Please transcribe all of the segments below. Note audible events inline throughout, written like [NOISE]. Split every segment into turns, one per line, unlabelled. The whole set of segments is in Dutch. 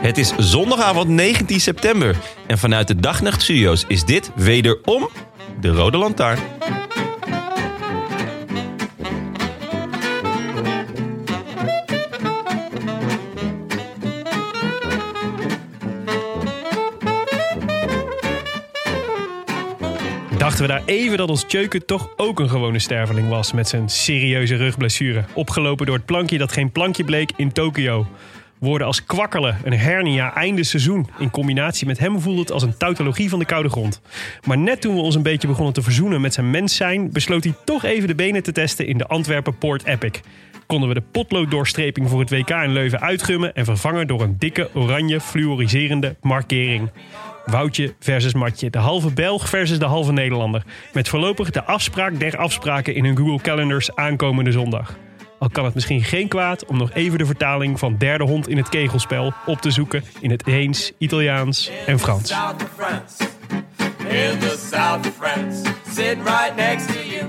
Het is zondagavond 19 september. En vanuit de Dagnacht Studios is dit wederom de Rode Lantaarn.
Dachten we daar even dat ons Tjeuken toch ook een gewone sterveling was met zijn serieuze rugblessure. Opgelopen door het plankje dat geen plankje bleek in Tokio. Woorden als kwakkelen, een hernia, einde seizoen. In combinatie met hem voelde het als een tautologie van de koude grond. Maar net toen we ons een beetje begonnen te verzoenen met zijn mens zijn, besloot hij toch even de benen te testen in de Antwerpen Port Epic. Konden we de potlooddoorstreping voor het WK in Leuven uitgummen en vervangen door een dikke oranje fluoriserende markering. Woutje versus Matje. De halve Belg versus de halve Nederlander. Met voorlopig de afspraak der afspraken in hun Google Calendars aankomende zondag. Al kan het misschien geen kwaad om nog even de vertaling van derde hond in het kegelspel op te zoeken in het Heens, Italiaans en Frans.
south of France. In the south of France. Sit right next to you.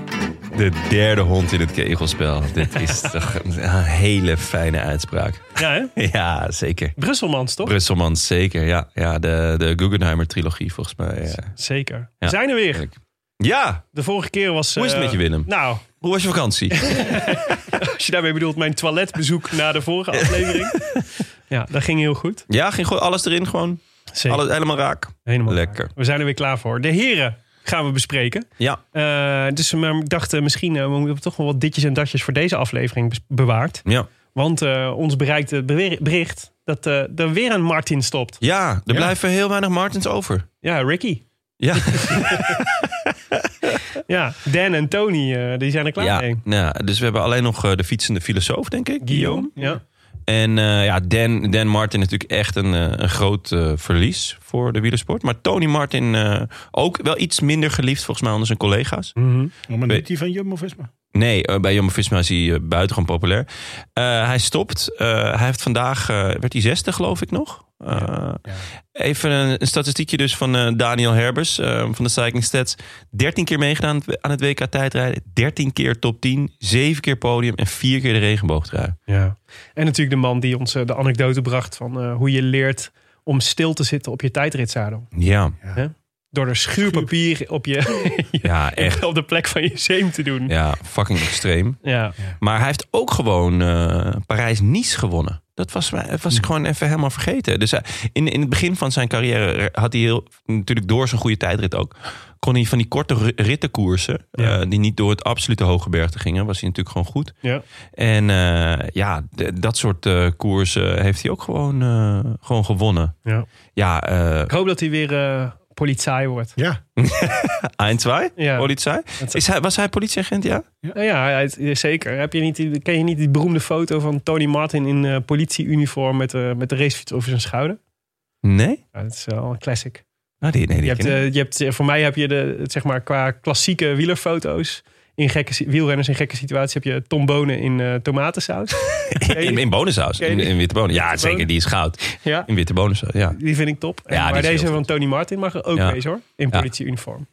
De derde hond in het kegelspel. Dit [LAUGHS] is toch een hele fijne uitspraak.
Ja, hè?
Ja, zeker.
Brusselmans, toch?
Brusselmans, zeker. Ja, ja de, de Guggenheimer-trilogie volgens mij. Ja.
Zeker.
Ja.
We zijn er weer.
Heerlijk. ja,
De vorige keer was...
Hoe is het
eh,
met je, Willem?
Nou,
hoe was je vakantie?
als je daarmee bedoelt mijn toiletbezoek na de
[LAUGHS]
vorige aflevering. Ja, dat ging heel goed.
[LAUGHS] Ja, ging gewoon alles erin gewoon.
Zeker.
Alles helemaal raak.
Helemaal
Lekker.
We zijn er weer klaar voor. De heren gaan we bespreken.
Ja,
Eh, dus we maar dachten misschien, eh, we hebben toch wel wat ditjes en datjes voor deze aflevering bes- bewaard.
ja.
Want eh, ons bereikt het bewer- bericht dat eh, er weer een Martin stopt.
Ja, er blijven heel weinig Martens over.
Ja, Ricky.
[LAUGHS] Ja,
Ja, Dan en Tony, eh, die zijn er klaar
ja.
mee.
Nou, dus we hebben alleen nog eh, de fietsende filosoof, denk ik.
Guillaume. Ja.
En eh, ja, Dan, Dan Martin is natuurlijk echt een, eh, een groot eh, verlies voor de wielersport. Maar Tony Martin eh, ook wel iets minder geliefd volgens mij onder zijn collega's.
Oh, maar niet die van Jumbo-Visma.
Nee, eh, bij Jumbo-Visma is hij eh, buitengewoon populair. Eh, hij stopt. Eh, hij heeft vandaag, eh, werd hij zesde geloof ik nog. Eh, Even een, een statistiekje dus van eh, Daniel Herbers eh, van de Cycling Stats. 13 keer meegedaan aan het WK tijdrijden. 13 keer top 10. 7 keer podium en 4 keer de regenboogtrui.
ja. En natuurlijk de man die ons eh, de anekdote bracht van eh, hoe je leert om stil te zitten op je tijdritzadel.
Ja,
Door er schuurpapier op, je,
[LAUGHS]
[LAUGHS]
ja echt.
op de plek van je zeem te doen. Ja.
Ja, fucking extreem. Maar hij heeft ook gewoon eh, Parijs-Nice gewonnen. Dat was, mij- dat was ik gewoon even helemaal vergeten. Dus hij- in, in het begin van zijn carrière had hij heel, natuurlijk door zijn goede tijdrit ook, kon hij van die korte ri- rittenkoersen,
Ja.
eh, die niet door het absolute hoge bergte gingen, was hij natuurlijk gewoon goed.
Ja.
En eh, ja, d- dat soort eh, koersen heeft hij ook gewoon, eh, gewoon gewonnen.
Ja.
Ja, eh
Ik hoop dat hij weer eh politie wordt.
Ja.
Eindzwaai,
Ja.
politie. Is hij, was hij politieagent, ja?
Nou ja, hij is- zeker. Heb je niet, die- ken je niet die beroemde foto van Tony Martin in eh, politieuniform met, eh, met de racefiets over zijn schouder?
Nee?
Ja, dat is wel een classic.
Nou, die, nee, die
Je hebt,
ken ik
eh, je hebt, eh, voor mij heb je de, het, zeg maar, qua klassieke wielerfoto's. In gekke, si- wielrenners in gekke situaties heb je tombonen in eh, tomatensaus. Ken je
In,
die?
in bonensaus.
Ken je
In,
die?
in witte bonen. Ja,
Witte
zeker.
bonen?
Die is goud.
ja,
In witte bonensaus, [LAUGHS] ja.
die vind ik top. En-
Ja, die
maar
is heel
deze
goed.
van Tony Martin mag er ook
Ja.
wezen hoor. In
Ja. [LAUGHS]
politieuniform.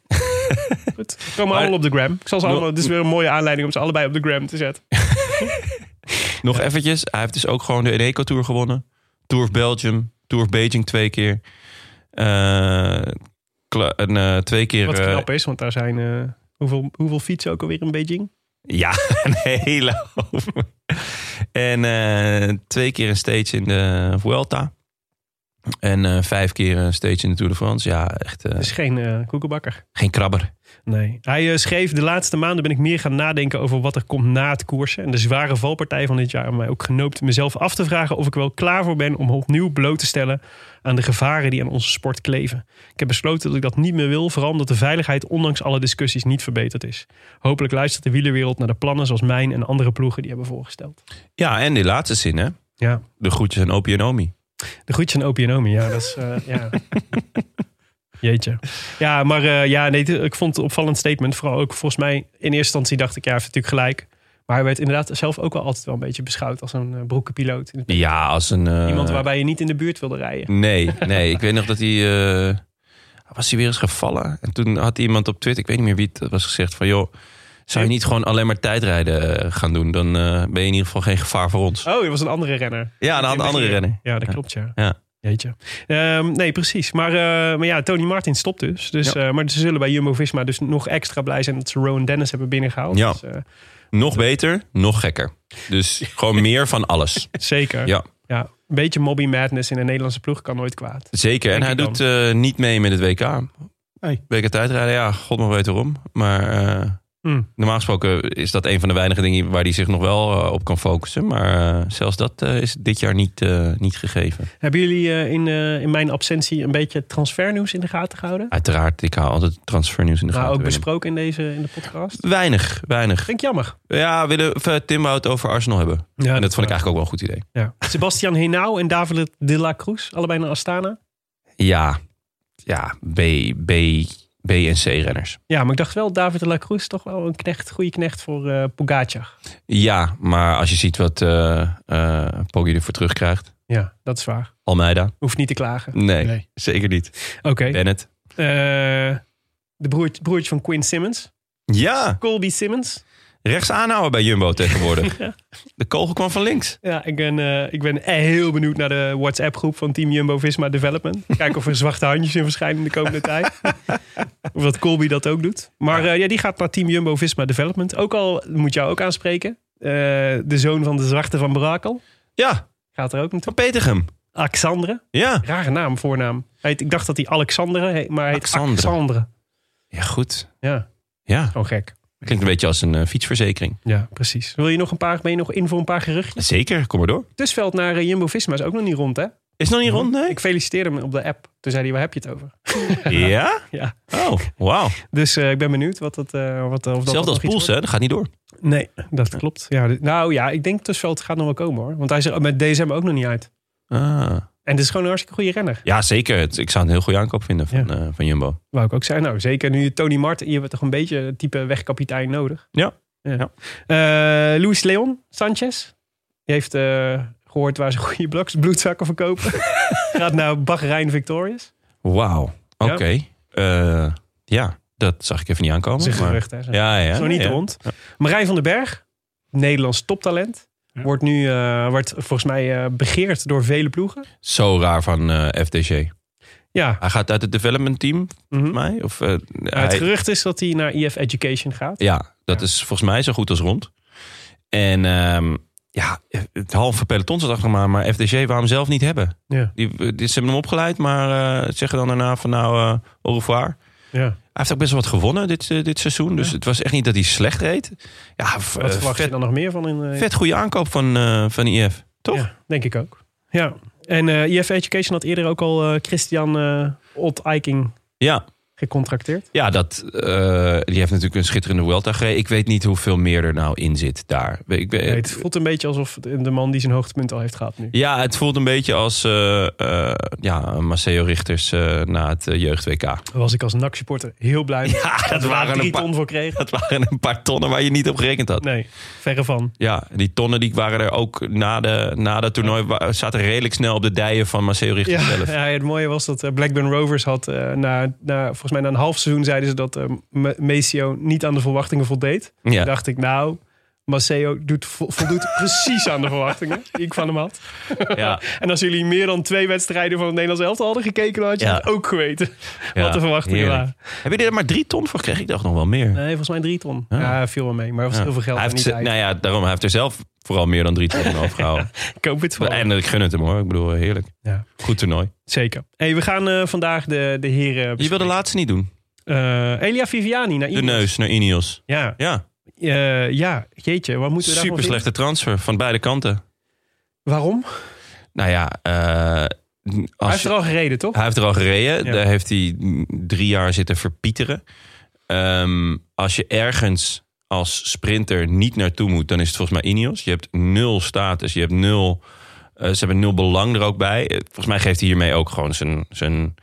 Goed, we komen
Maar-
allemaal op de gram. Ik zal ze
Nog-
allemaal, dit is weer een mooie aanleiding om ze allebei op de gram te zetten.
Nog eventjes. Hij heeft dus ook gewoon de Eneco Tour gewonnen. Tour of Belgium. Tour of Beijing twee keer. Eh, kla- een, eh, twee keer...
Wat
eh,
knap is, want daar zijn... eh, Hoeveel, hoeveel fietsen ook alweer in Beijing?
ja, [LAUGHS] een hele hoop. En eh, twee keer een stage in de Vuelta. En eh, vijf keer een stage in de Tour de France. Ja, echt eh,
Het is geen eh koekenbakker.
geen krabber.
Nee. Hij eh, schreef, de laatste maanden ben ik meer gaan nadenken over wat er komt na het koersen. En de zware valpartij van dit jaar heeft mij ook genoopt mezelf af te vragen of ik wel klaar voor ben om opnieuw bloot te stellen aan de gevaren die aan onze sport kleven. Ik heb besloten dat ik dat niet meer wil, vooral omdat de veiligheid ondanks alle discussies niet verbeterd is. Hopelijk luistert de wielerwereld naar de plannen zoals mijn en andere ploegen die hebben voorgesteld.
Ja, en die laatste zin, hè?
Ja,
De groetjes aan Opie en Omi.
de groetjes aan Opie en Omi, ja, dat is... eh,
[LAUGHS]
ja. Jeetje. Ja, maar eh, ja, nee, t- ik vond het een opvallend statement. Vooral ook volgens mij, in eerste instantie dacht ik, ja, hij heeft natuurlijk gelijk. Maar hij werd inderdaad zelf ook wel altijd wel een beetje beschouwd als een eh, broekenpiloot.
Ja, als een. eh,
Iemand waarbij je niet in de buurt wilde rijden.
Nee, nee. Ik weet nog dat hij. eh, was hij weer eens gevallen? En toen had iemand op Twitter, ik weet niet meer wie het was, gezegd van joh. Zou je niet gewoon alleen maar tijdrijden eh, gaan doen? Dan eh, ben je in ieder geval geen gevaar voor ons.
Oh, dat was een andere renner.
Ja, dan had een andere renner.
Ja, dat
Ja.
klopt, ja.
Ja.
Jeetje. Ehm, nee, precies. Maar, eh, maar ja, Tony Martin stopt dus. dus eh, maar ze zullen bij Jumbo-Visma dus nog extra blij zijn... dat ze Rowan Dennis hebben binnengehaald.
Ja.
Dus, eh,
Nog beter, nog gekker. Dus [LAUGHS] gewoon meer van alles.
zeker.
Ja.
ja. Een beetje mobby madness in een Nederlandse ploeg kan nooit kwaad.
Zeker. En
Denk
hij
ik dan.
doet eh, niet mee met het WK.
Nee.
WK tijdrijden, ja, god nog weet waarom. Maar eh,
Hmm.
normaal gesproken is dat een van de weinige dingen waar hij zich nog wel eh, op kan focussen. Maar eh, zelfs dat eh, is dit jaar niet, eh, niet gegeven.
Hebben jullie eh, in, eh, in mijn absentie een beetje transfernieuws in de gaten gehouden?
Uiteraard, ik hou altijd transfernieuws in de
Nou,
gaten.
ook
Willem.
besproken in deze in de podcast.
Weinig, weinig.
Vind ik jammer.
Ja, willen we het, Tim wou het over Arsenal hebben.
Ja,
en dat vond ik eigenlijk ook wel een goed idee.
Ja. Sebastian Henao en David de la Cruz, allebei naar Astana.
Ja, ja B, B, B en C-renners.
Ja, maar ik dacht wel, David de la Cruz is toch wel een knecht, goede knecht voor eh Pogacar.
Ja, maar als je ziet wat eh eh Poggi ervoor terugkrijgt.
Ja, dat is waar.
Almeida?
Hoeft niet te klagen.
Nee,
Nee.
zeker niet.
Oké.
Bennett?
Eh, de broertje, broertje van Quinn Simmons.
Ja,
Colby Simmons.
rechts aanhouden bij Jumbo
[LAUGHS]
tegenwoordig. De kogel kwam van links.
Ja, ik ben, eh, ik ben heel benieuwd naar de WhatsApp-groep van Team
[LAUGHS]
Jumbo-Visma Development. Kijken of er zwarte handjes in verschijnen in de komende tijd. Of dat Colby dat ook doet. Maar eh, ja, die gaat naar Team Jumbo-Visma Development. Ook al, moet jou ook aanspreken, eh, de zoon van de zwarte van Brakel
Ja,
gaat er ook naartoe.
van Petergem.
Alexandre.
Ja.
Rare naam, voornaam. Hij heet- ik dacht dat hij Alexandre heet, maar hij heet
Alexandre.
Alexandre.
Ja, goed.
Ja,
Ja,
gewoon gek.
klinkt een beetje als een eh, fietsverzekering.
Ja, precies. Wil je nog een paar, ben je nog in voor een paar geruchten?
Zeker, kom maar door.
Tussveld naar eh, Jumbo-Visma is ook nog niet rond, hè?
Is het nog niet rond, nee?
Ik feliciteerde hem op de app. Toen zei hij, waar heb je het over?
Ja?
Ja.
Oh, wauw.
Dus eh, ik ben benieuwd wat dat, eh wat, of dat
Hetzelfde als
nog iets
Poels, hè? Dat gaat niet door.
wordt. Nee, dat klopt. Ja, d- nou ja, ik denk Tussveld gaat nog wel komen hoor. Want hij is er met DSM ook nog niet uit.
Ah.
En het is gewoon een hartstikke goede renner.
Ja, zeker. Het- Ik zou het een heel goede aankoop vinden van,
Ja.
eh, van Jumbo.
Wou ik ook zeggen. Nou, zeker nu je Tony Martin, je hebt toch een beetje het type wegkapitein nodig.
Ja.
ja. Eh, Luis Leon Sanchez. Die heeft eh, gehoord waar ze goede bloks,
[LAUGHS]
bloedzakken verkopen. Gaat naar Bahrein Victorious.
Wauw. Oké.
Ja.
Eh, ja, dat zag ik even niet aankomen.
Dat is een
maar-
gerucht hè.
Ja, ja.
Is nog niet
ja.
rond. Marijn van den Berg, Nederlands toptalent.
Ja.
Wordt nu eh, wordt volgens mij eh, begeerd door vele ploegen.
Zo raar van eh, FDG.
Ja.
Hij gaat uit het development team,
mhm.
volgens mij. Of, eh,
Maar het
hij-
gerucht is dat hij naar EF Education gaat.
ja, dat
Ja.
is volgens mij zo goed als rond. En ehm, ja, het halve peloton zat achter me, maar FDG waarom zelf niet hebben.
Ja.
Die, die, ze hebben hem opgeleid, maar eh, zeggen dan daarna van nou, eh au revoir.
Ja.
Hij heeft ook best wel wat gewonnen dit, eh, dit seizoen. Dus het was echt niet dat hij slecht reed. Ja, v-
Wat
eh,
verwacht je
vet,
dan nog meer van? In, eh,
vet goede aankoop van, eh van IF. Toch?
Ja, denk ik ook. Ja. En eh EF Education had eerder ook al eh, Christian eh Ott Eiking
Ja,
gecontracteerd.
ja dat, eh, die heeft natuurlijk een schitterende Vuelta gereden. Ik weet niet hoeveel meer er nou in zit daar. Ik, ben-
Nee, het voelt een beetje alsof de de man die zijn hoogtepunt al heeft gehad nu.
Ja, het voelt een beetje als eh, eh, ja, Maceo Richters eh, na het [LAUGHS] jeugd-WK.
Daar was ik als NAC-supporter heel blij mee.
[LAUGHS] Ja,
dat we daar
een
drie
paar,
ton voor kregen.
dat waren een paar tonnen waar je niet op gerekend had.
Nee, verre van.
Ja, die tonnen die waren er ook na, de, na dat toernooi... wa- zaten redelijk snel op de dijen van Maceo Richters
Ja, [LAUGHS]
zelf.
ja, het mooie was dat eh, Blackburn Rovers had, eh, na, na, volgens mij na een half seizoen zeiden ze dat eh, Me- Maceo niet aan de verwachtingen voldeed.
Ja.
dacht ik, nou, Maceo doet, vo- voldoet [LAUGHS] precies aan de verwachtingen die ik van hem had.
Ja.
En als jullie meer dan twee wedstrijden van het Nederlands elftal hadden gekeken, dan had je
Ja.
het ook geweten.
Ja,
wat de verwachtingen
heerlijk.
waren.
Heb je er maar drie ton voor gekregen? Ik dacht nog wel meer.
Nee, volgens mij drie ton.
Ja.
Ja, viel wel mee. Maar dat was
Ja.
heel veel geld.
Hij
en
heeft,
niet
ze-
uit.
nou ja, daarom hij heeft er zelf vooral meer dan drie ton aan
[LAUGHS]
overgehouden.
Ik hoop het wel.
En ik gun het hem hoor. Ik bedoel, heerlijk.
Ja.
Goed toernooi.
Zeker. Hey, we gaan eh, vandaag de, de heren...
Je wil de laatste niet doen.
Eh, Elia Viviani naar
De
Ineos.
neus naar Ineos.
Ja,
Ja,
eh, ja, jeetje. Wat moeten we daarvan
super
vinden?
slechte transfer van beide kanten.
Waarom?
Nou ja, eh,
Hij
als
heeft
je-
er al gereden, toch?
hij heeft er al gereden.
Ja.
Daar heeft hij drie jaar zitten verpieteren. Ehm, als je ergens als sprinter niet naartoe moet, dan is het volgens mij Ineos. Je hebt nul status, je hebt nul... eh, ze hebben nul belang er ook bij. Eh, Volgens mij geeft hij hiermee ook gewoon zijn, zijn,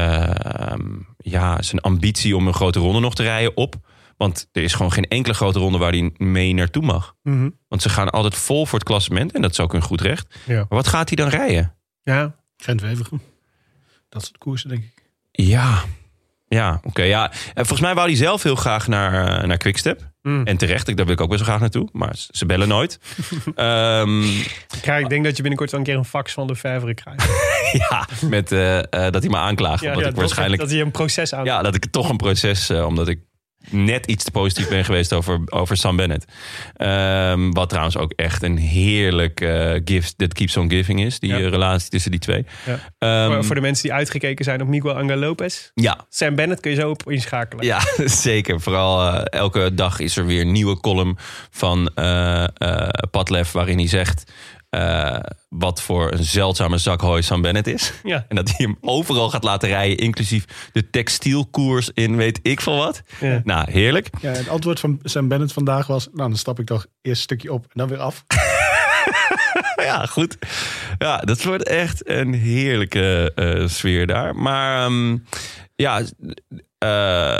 ehm, ja, zijn ambitie om een grote ronde nog te rijden op. Want er is gewoon geen enkele grote ronde waar hij mee naartoe mag.
Mhm.
Want ze gaan altijd vol voor het klassement. En dat is ook hun goed recht.
Ja.
Maar wat gaat hij dan rijden?
Ja.
gent wevergem Dat soort koersen, denk ik.
Ja. Ja, oké. ja. En volgens mij wou hij zelf heel graag naar, eh, naar Quickstep.
Mm.
En terecht, ik- daar wil ik ook best wel graag naartoe. Maar ze- ze bellen
[LAUGHS]
nooit. Ehm,
Ik, krijg- ik denk dat je binnenkort wel een keer een fax van de Vijveren krijgt.
ja, met, eh, eh, dat hij me aanklaagt.
Ja,
omdat
ja,
ik waarschijnlijk...
Dat, dat je een proces aan...
Ja, dat ik toch een proces... eh, omdat ik net iets te positief ben geweest over, over Sam Bennett. Ehm, wat trouwens ook echt een heerlijk eh, gift... that keeps on giving is. Die
Ja.
eh, relatie tussen die twee.
Ja.
Ehm,
Voor, voor de mensen die uitgekeken zijn op Miguel Angel Lopez.
ja,
Sam Bennett kun je zo op inschakelen.
Ja, [LAUGHS] zeker. Vooral eh, elke dag is er weer een nieuwe column van eh eh, Padlef... waarin hij zegt eh, wat voor een zeldzame zak hooi Sam Bennett is.
Ja.
En dat hij hem overal gaat laten rijden... inclusief de textielkoers in weet ik veel wat.
Ja.
Nou, heerlijk.
Ja, het antwoord van Sam Bennett vandaag was... Nou, dan stap ik toch eerst een stukje op en dan weer af.
Nou Ja, goed. Ja, dat wordt echt een heerlijke eh, sfeer daar. Maar ehm, ja, eh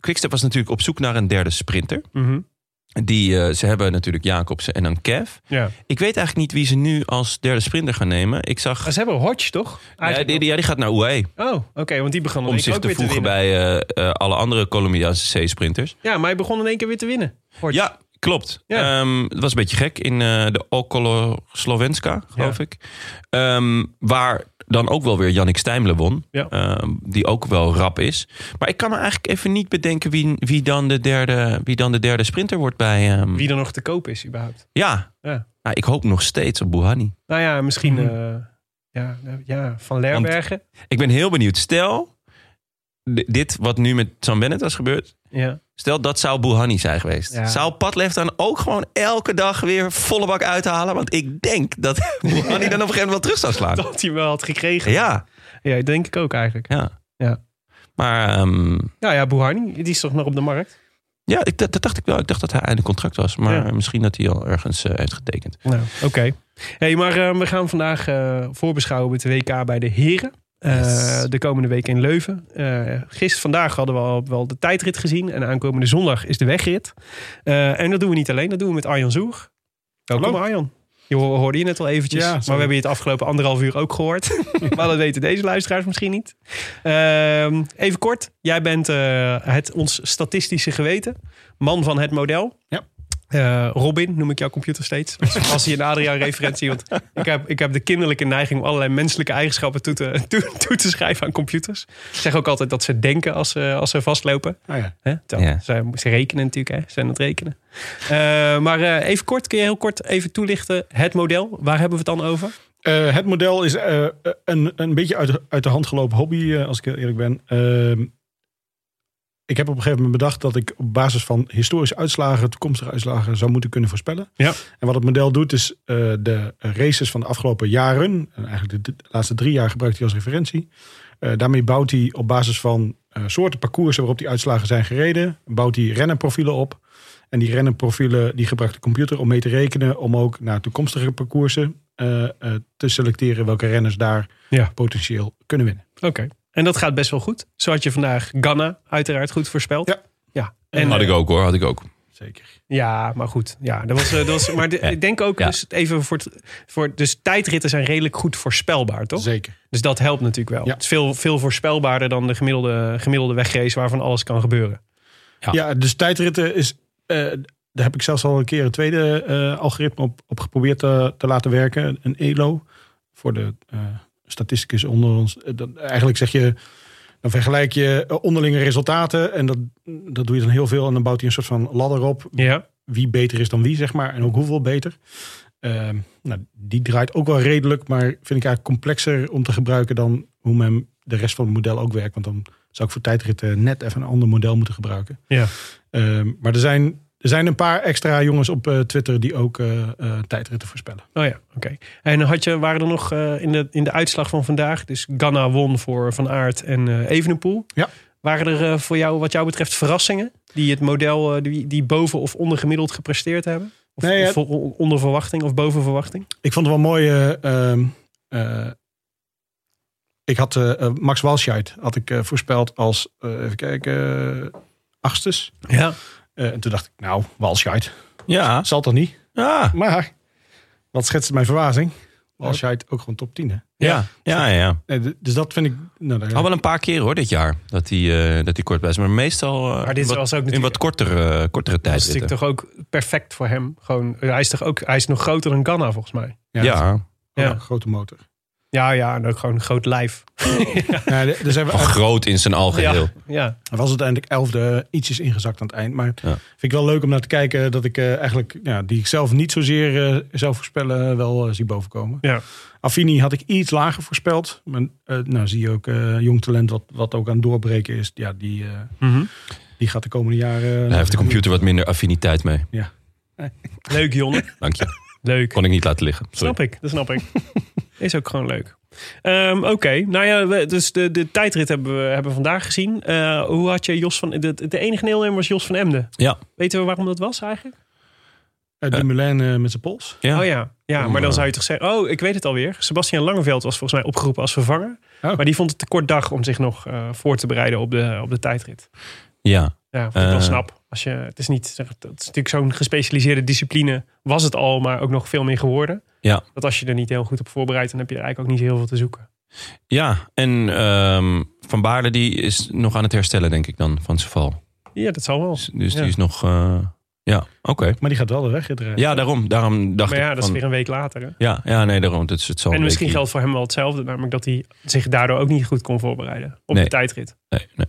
Quickstep was natuurlijk op zoek naar een derde sprinter...
Mhm.
Die, eh, ze hebben natuurlijk Jacobsen en dan Kev.
ja.
Ik weet eigenlijk niet wie ze nu als derde sprinter gaan nemen. Ik zag.
Maar ze hebben Hodge, toch?
Ja,
Eigenlijk
die, die- ja, die gaat naar UAE.
wel. Oh, oké, want die begon in
Om
één
zich
keer ook
te
weer
voegen
winnen.
bij eh, eh, alle andere Colombiaanse C-sprinters.
Ja, maar hij begon in één keer weer te winnen. Hodge.
Ja, klopt.
Ja.
Ehm, het was een beetje gek in eh, de Okolo Slovenska, geloof
Ja.
ik. Ehm, waar dan ook wel weer Jannik Stijmle won.
Ja.
Ehm, die ook wel rap is. Maar ik kan me eigenlijk even niet bedenken wie, wie, dan, de derde, wie dan de derde sprinter wordt bij. ehm,
Wie er nog te koop is, überhaupt.
Ja.
Ja.
Nou, ik hoop nog steeds op Buhani.
Nou ja, misschien...
Mhm.
eh, ja, nou, ja, Van Lerbergen.
Ik ben heel benieuwd. Stel, d- dit wat nu met Sam Bennett was gebeurd.
Ja. [LAUGHS]
Stel, dat zou Bouhanni zijn geweest.
Ja.
Zou Padlef dan ook gewoon elke dag weer volle bak uithalen? Want ik denk dat [LAUGHS] Bouhanni dan op een gegeven moment wel terug zou slaan.
Dat hij wel had gekregen.
Ja,
Ja, denk ik ook eigenlijk.
ja.
Ja.
Maar ehm,
Nou ja, Buhani, die is toch nog op de markt?
ja, ik, dat, dat dacht ik wel. Ik dacht dat hij einde contract was. Maar
Ja.
misschien dat hij al ergens eh, heeft getekend.
Nou, oké. hey, maar eh, we gaan vandaag eh, voorbeschouwen met de WK bij de heren. Eh,
Yes.
De komende week in Leuven. Eh gisteren, vandaag hadden we al wel de tijdrit gezien. En aankomende zondag is de wegrit. Eh, en dat doen we niet alleen, dat doen we met Arjan Zoer. Welkom
Hallo.
Arjan. Je ho- hoorde je net al eventjes,
Ja,
maar we
sorry.
hebben je het afgelopen anderhalf uur ook gehoord. [LAUGHS] maar dat weten deze luisteraars misschien niet. Ehm, even kort, jij bent eh, het, ons statistische geweten. Man van het model.
Ja.
Eh, Robin noem ik jouw computer steeds. Als, als hij een Adriaan-referentie. Want ik heb, ik heb de kinderlijke neiging om allerlei menselijke eigenschappen toe te, [LAUGHS] toe, toe te schrijven aan computers. Ik zeg ook altijd dat ze denken als ze, als ze vastlopen.
Nou ja.
Hè? Terwijl
Ja.
Ze, ze rekenen natuurlijk, hè? ze zijn aan het rekenen. Eh, maar eh, even kort, kun je heel kort even toelichten het model? Waar hebben we het dan over?
Eh, het model is eh, eh, een, een beetje uit, de- uit de hand gelopen hobby, eh, als ik heel eerlijk ben. Ehm, ik heb op een gegeven moment bedacht dat ik op basis van historische uitslagen, toekomstige uitslagen, zou moeten kunnen voorspellen.
Ja.
En wat het model doet, is eh, de races van de afgelopen jaren, en eigenlijk de, de laatste drie jaar gebruikt hij als referentie. Eh, daarmee bouwt hij op basis van eh, soorten parcoursen waarop die uitslagen zijn gereden, bouwt hij rennenprofielen op. En die rennenprofielen die gebruikt de computer om mee te rekenen, om ook naar toekomstige parcoursen eh, eh, te selecteren welke renners daar
Ja.
potentieel kunnen winnen.
Oké. En dat gaat best wel goed. Zo had je vandaag Ghana uiteraard goed voorspeld.
Ja.
ja. En, eh,
had ik ook hoor, had ik ook.
Zeker.
Ja, maar goed. Ja, dat was, eh, dat was, maar de-
Ja.
ik denk ook
Ja.
dus even voor, het, voor. Dus tijdritten zijn redelijk goed voorspelbaar, toch?
Zeker.
Dus dat helpt natuurlijk wel.
Ja.
Het is veel, veel voorspelbaarder dan de gemiddelde, gemiddelde wegrace waarvan alles kan gebeuren.
Ja.
Ja, dus tijdritten is eh, daar heb ik zelfs al een keer een tweede eh, algoritme op, op geprobeerd eh, te, te laten werken. Een ELO. Voor de eh statisticus onder ons. Eh, dat- eigenlijk zeg je, dan vergelijk je eh, onderlinge resultaten. En dat, dat doe je dan heel veel. En dan bouwt hij een soort van ladder op.
Ja.
Wie beter is dan wie, zeg maar. En ook hoeveel beter. Ehm, nou, die draait ook wel redelijk. Maar vind ik eigenlijk complexer om te gebruiken dan hoe men de rest van het model ook werkt. Want dan zou ik voor tijdritten net even een ander model moeten gebruiken.
Ja.
Ehm, maar er zijn, er zijn een paar extra jongens op eh, Twitter die ook eh, eh, tijdritten voorspellen.
Oh ja, oké. En had je, waren er nog eh, in, de, in de uitslag van vandaag, dus Ghana won voor Van Aert en eh Evenepoel.
Ja.
Waren er eh, voor jou, wat jou betreft, verrassingen die het model, eh, die, die boven of ondergemiddeld gepresteerd hebben? Of,
Nee, ja.
of on- onder verwachting of boven verwachting?
Ik vond het wel mooi. eh, ehm, eh, ik had eh, eh, Max Walscheid had ik eh, voorspeld als, eh, even kijken, eh, achtstes.
Ja.
Eh, en toen dacht ik, nou, Walscheid,
Ja.
zal toch niet?
Ja.
Maar, wat schetste mijn verwazing? Walscheid ook gewoon top 10, hè?
Ja. Ja, ja, ja.
Nee, d- dus dat vind ik... Nou, daar-
Al Oh, wel een paar keer hoor dit jaar dat hij eh, dat hij kort bij is. Maar meestal eh,
Maar dit
wat-
was ook
in
natuurlijk,
wat kortere, kortere
dat is
tijdritten.
natuurlijk toch ook perfect voor hem. Gewoon, eh, hij, is toch ook, hij is nog groter dan Ghana volgens mij.
ja,
Ja,
gewoon
ja.
een grote motor.
Ja, ja, en ook gewoon een groot lijf.
Nee, dus er- er zijn
van
wel-
groot in zijn algeheel.
Ja,
Hij was uiteindelijk elfde, ietsjes ingezakt aan het eind. Maar
Ja.
vind ik wel leuk om naar te kijken dat ik eh, eigenlijk, ja, die ik zelf niet zozeer eh, zou voorspellen, wel eh, zie bovenkomen.
ja.
Affini had ik iets lager voorspeld. Maar eh, nou zie je ook eh, jong talent wat, wat ook aan het doorbreken is. Ja, die, eh,
Mhm.
die gaat de komende jaren...
Daar heeft de computer wat minder affiniteit mee.
Leuk, [LAUGHS] Jonne.
Dank je.
Leuk.
Kon ik niet laten liggen. Sorry.
Snap ik, dat snap ik. [LAUGHS] Is ook gewoon leuk. Ehm, Oké, nou ja, we- dus de, de tijdrit hebben we, hebben we vandaag gezien. Eh, hoe had je Jos van... De, de enige deelnemer was Jos van Emden.
Ja.
Weten we waarom dat was eigenlijk?
Eh, Dumoulin eh, met zijn pols.
Ja. eh?
Oh ja, ja maar dan zou je toch zeggen... Oh, ik weet het alweer. Sebastian Langeveld was volgens mij opgeroepen als vervanger.
Oh.
Maar die vond het te kort dag om zich nog eh, voor te bereiden op de, op de tijdrit.
Ja.
Ja, vond ik wel
Eh.
snap. Als je, het is niet, het is natuurlijk zo'n gespecialiseerde discipline. Was het al, maar ook nog veel meer geworden.
Ja.
Dat als je er niet heel goed op voorbereidt... dan heb je er eigenlijk ook niet heel veel te zoeken.
Ja, en ehm, Van Baarle die is nog aan het herstellen, denk ik dan, van zijn val.
Ja, dat zal wel.
Dus, dus
Ja.
die is nog... eh, ja, oké.
Maar die gaat wel de weg rijden.
Ja, daarom, daarom dacht
Maar ja,
ik
dat is
van...
weer een week later. hè?
Ja, ja, nee, daarom. Dat is het zo
En misschien geldt voor hem wel hetzelfde. Namelijk dat hij zich daardoor ook niet goed kon voorbereiden. Op
Nee.
de tijdrit.
Nee, nee.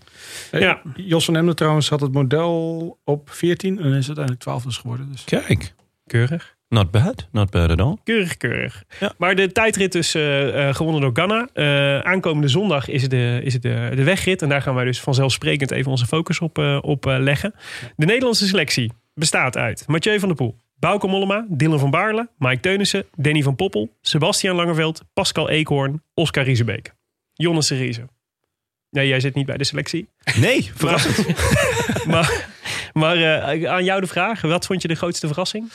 Eh,
Ja.
Jos van Emden trouwens had het model op 14 en is uiteindelijk 12 dus geworden. Dus.
Kijk,
Keurig.
not bad. Not bad at all.
Keurig, keurig.
Ja.
Maar de tijdrit dus eh, eh, gewonnen door Ghana. Eh, aankomende zondag is het, de, is het de, de wegrit. En daar gaan wij dus vanzelfsprekend even onze focus op, eh, op eh, leggen. De Nederlandse selectie bestaat uit Mathieu van der Poel. Bauke Mollema, Dylan van Baarle, Mike Teunissen, Danny van Poppel, Sebastian Langeveld, Pascal Eekhoorn, Oscar Riesebeek. Jonne Serize. Nee, jij zit niet bij de selectie. [LAUGHS]
Nee,
verrassend. maar [LAUGHS] maar eh, aan jou de vraag, wat vond je de grootste verrassing?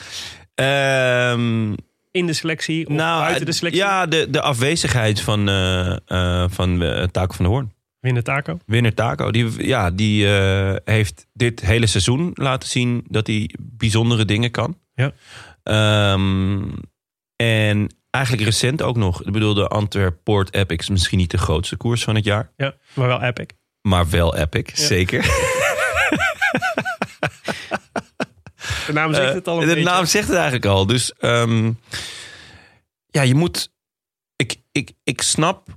Ehm
In de selectie of
nou,
buiten de selectie?
Ja, de, de afwezigheid van, eh eh, van eh, Taco van de Hoorn.
Winnen Taco.
Winner Taco, die, ja, die eh, heeft dit hele seizoen laten zien dat hij bijzondere dingen kan.
Ja.
Ehm, en eigenlijk recent ook nog. Ik bedoel, de Antwerp Port Epic is misschien niet de grootste koers van het jaar.
Ja, maar wel epic.
Maar wel epic, zeker.
De naam zegt het al een
Eh, de
beetje.
naam zegt het eigenlijk al. Dus ehm, ja, je moet... Ik, ik, ik snap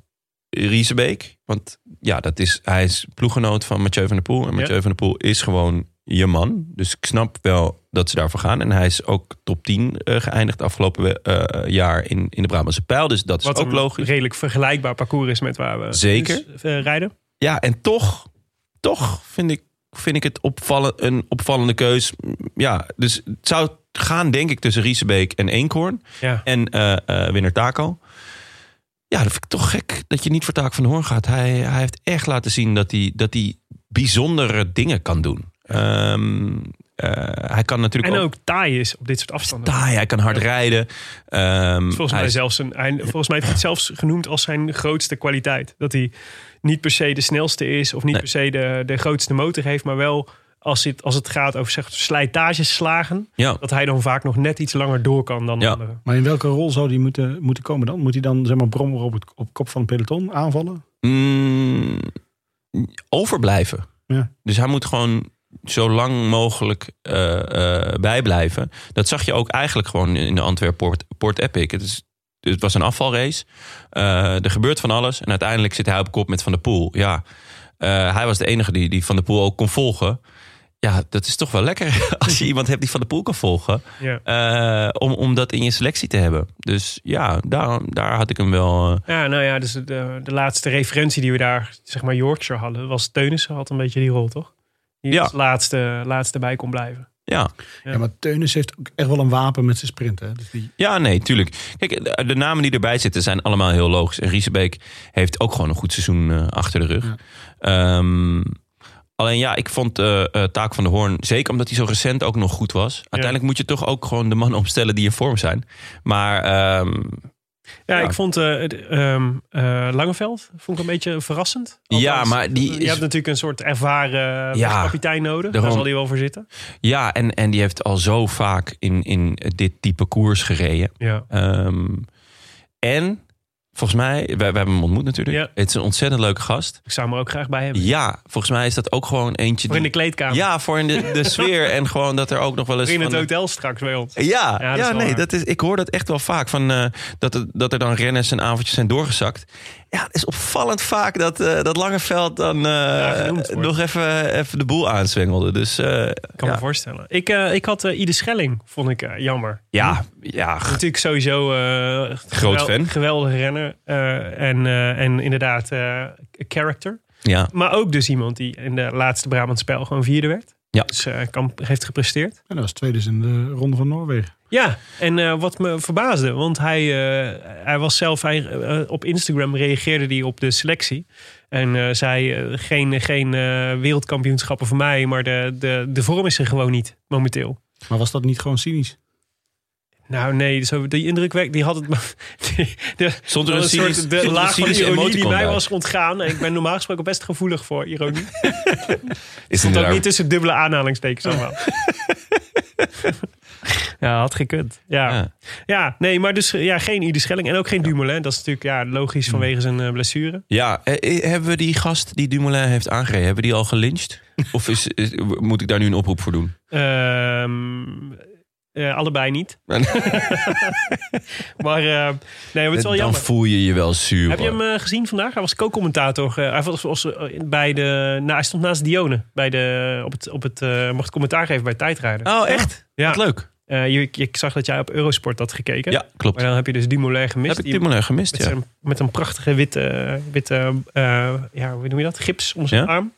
Riesebeek. Want ja, dat is, hij is ploeggenoot van Mathieu van der Poel. En Mathieu van der Poel is gewoon je man. Dus ik snap wel dat ze daarvoor gaan. En hij is ook top 10 eh, geëindigd afgelopen we- eh, jaar in, in de Brabantse pijl. Dus dat is
Wat
ook
een
logisch.
redelijk vergelijkbaar parcours is met waar we
Zeker.
dus, eh, rijden.
Ja, en toch, toch vind ik, vind ik het opvallen, een opvallende keus. Ja, dus het zou gaan, denk ik, tussen Riesebeek en Eenkhoorn.
Ja.
En eh eh, winnaar Taco. Ja, dat vind ik toch gek dat je niet voor Taco van de Hoorn gaat. Hij, hij heeft echt laten zien dat hij, dat hij bijzondere dingen kan doen. Ehm, eh, hij kan natuurlijk
En ook taai is op dit soort afstanden.
taai, hij kan hard rijden. Ehm,
Dus Volgens
hij
mij,
is-
zelfs een, hij- volgens mij heeft hij het zelfs genoemd als zijn grootste kwaliteit. Dat hij niet per se de snelste is of niet
Nee.
per se de, de grootste motor heeft, maar wel als het, als het gaat over zeg, slijtages slagen,
ja.
dat hij dan vaak nog net iets langer door kan dan
Ja.
anderen.
Maar in welke rol zou die moeten, moeten komen dan? Moet hij dan zeg maar brommer op, het, op kop van het peloton aanvallen?
Mm, overblijven.
Ja.
Dus hij moet gewoon zo lang mogelijk eh, eh, bijblijven. Dat zag je ook eigenlijk gewoon in de Antwerp Port, Port Epic. Het, is, het was een afvalrace. Eh, er gebeurt van alles. En uiteindelijk zit hij op kop met Van der Poel. Ja, eh, hij was de enige die, die Van der Poel ook kon volgen. Ja, dat is toch wel lekker [LAUGHS] als je iemand hebt die Van der Poel kan volgen.
Ja.
eh, om, om dat in je selectie te hebben. Dus ja, daar, daar had ik hem wel... eh,
Ja, nou ja, dus de, de laatste referentie die we daar, zeg maar Yorkshire hadden, was Teunissen had een beetje die rol, toch? Die
Ja.
als laatste, laatste bij kon blijven.
ja.
Ja, maar Teunis heeft ook echt wel een wapen met zijn sprint. Hè? Dus die,
Ja, nee, tuurlijk. Kijk, eh, de, de namen die erbij zitten zijn allemaal heel logisch. En Riesebeek heeft ook gewoon een goed seizoen eh, achter de rug. Ehm, alleen ja, ik vond eh, eh, Taak van de Hoorn, zeker omdat hij zo recent ook nog goed was. Uiteindelijk moet je toch ook gewoon de mannen opstellen die in vorm zijn. Maar ehm,
Ja,
Ja.
ik vond eh, het, ehm, eh, Langeveld vond ik een beetje verrassend.
Ja, maar die
Je
is-
hebt natuurlijk een soort ervaren eh,
Ja,
kapitein nodig. Daar
daarom.
zal hij wel voor zitten.
ja, en, en die heeft al zo vaak in, in dit type koers gereden.
Ja.
Ehm, en volgens mij, wij, wij hebben hem ontmoet natuurlijk.
Ja.
Het is een ontzettend leuke gast.
Ik zou hem er ook graag bij hebben.
Ja, volgens mij is dat ook gewoon eentje
Voor in
die-
de kleedkamer.
Ja, voor in de, de
[LAUGHS]
sfeer en gewoon dat er ook nog wel eens...
Voor in het
van-
hotel straks bij ons.
Ja,
Ja,
ja,
dat is wel
nee,
waar.
dat is, ik hoor dat echt wel vaak. Van, eh, dat, er, dat er dan renners en avondjes zijn doorgezakt. Ja, het is opvallend vaak dat, eh dat Langeveld dan eh,
genoemd wordt.
nog even, even de boel aanzwengelde. Dus eh,
Ik kan
ja.
me voorstellen. Ik, eh, ik had eh, Ide Schelling, vond ik eh, jammer.
Ja, ja, g-
Natuurlijk sowieso eh, gewel-
fan.
Geweldige renner. eh, en, eh, en inderdaad eh, character.
ja.
Maar ook dus iemand die in de laatste Brabant spel gewoon vierde werd.
Ja.
Dus eh, Kamp heeft gepresteerd.
en dat was tweede in de Ronde van Noorwegen.
Ja, en eh, wat me verbaasde, want hij, eh, hij was zelf hij, eh, op Instagram reageerde hij op de selectie. En eh, zei: eh, geen, geen eh, wereldkampioenschappen voor mij, maar de, de, de vorm is er gewoon niet momenteel.
Maar was dat niet gewoon cynisch?
Nou nee, zo, die indruk die had het. [LAUGHS] maar- Die, de,
Stond er een
wel een
cynisch-
soort
stond er
de
een
laag van
cynisch
ironie die
emoticon
mij
bij?
was ontgaan. En ik ben normaal gesproken best gevoelig voor
[LAUGHS]
ironie.
Is
Stond ook
inderdaad-
niet tussen dubbele aanhalingstekens allemaal.
[LAUGHS]
ja, had gekund. Ja. ja.
ja.
nee, maar dus eh, ja, geen Ide Schelling en ook geen Dumoulin. Dat is natuurlijk ja,
Hm.
logisch vanwege zijn eh, blessure.
Ja, eh, eh, hebben we die gast die Dumoulin heeft aangereden, hebben we die al
[LAUGHS]
gelyncht? Of is, is- moet ik daar nu een oproep voor doen?
Ehm, eh, allebei niet. Maar eh, nee, maar het is wel
Dan
jammer.
voel je je wel zuur.
Heb je
hoor.
hem eh, gezien vandaag? Hij was co-commentator. eh, hij, was, was, eh, bij de, nou, hij stond naast Dione bij de, op het, op het, eh, mocht commentaar geven bij Tijdrijden.
Oh, echt?
ja.
Wat leuk.
Eh, je, ik zag dat jij op Eurosport had gekeken.
Ja, klopt.
Maar dan heb je dus Dumoulin gemist.
Heb ik
Die-
Dumoulin gemist,
Met,
ja.
zijn- met een prachtige witte, witte eh, ja, hoe noem je dat? Gips om zijn
Ja?
arm.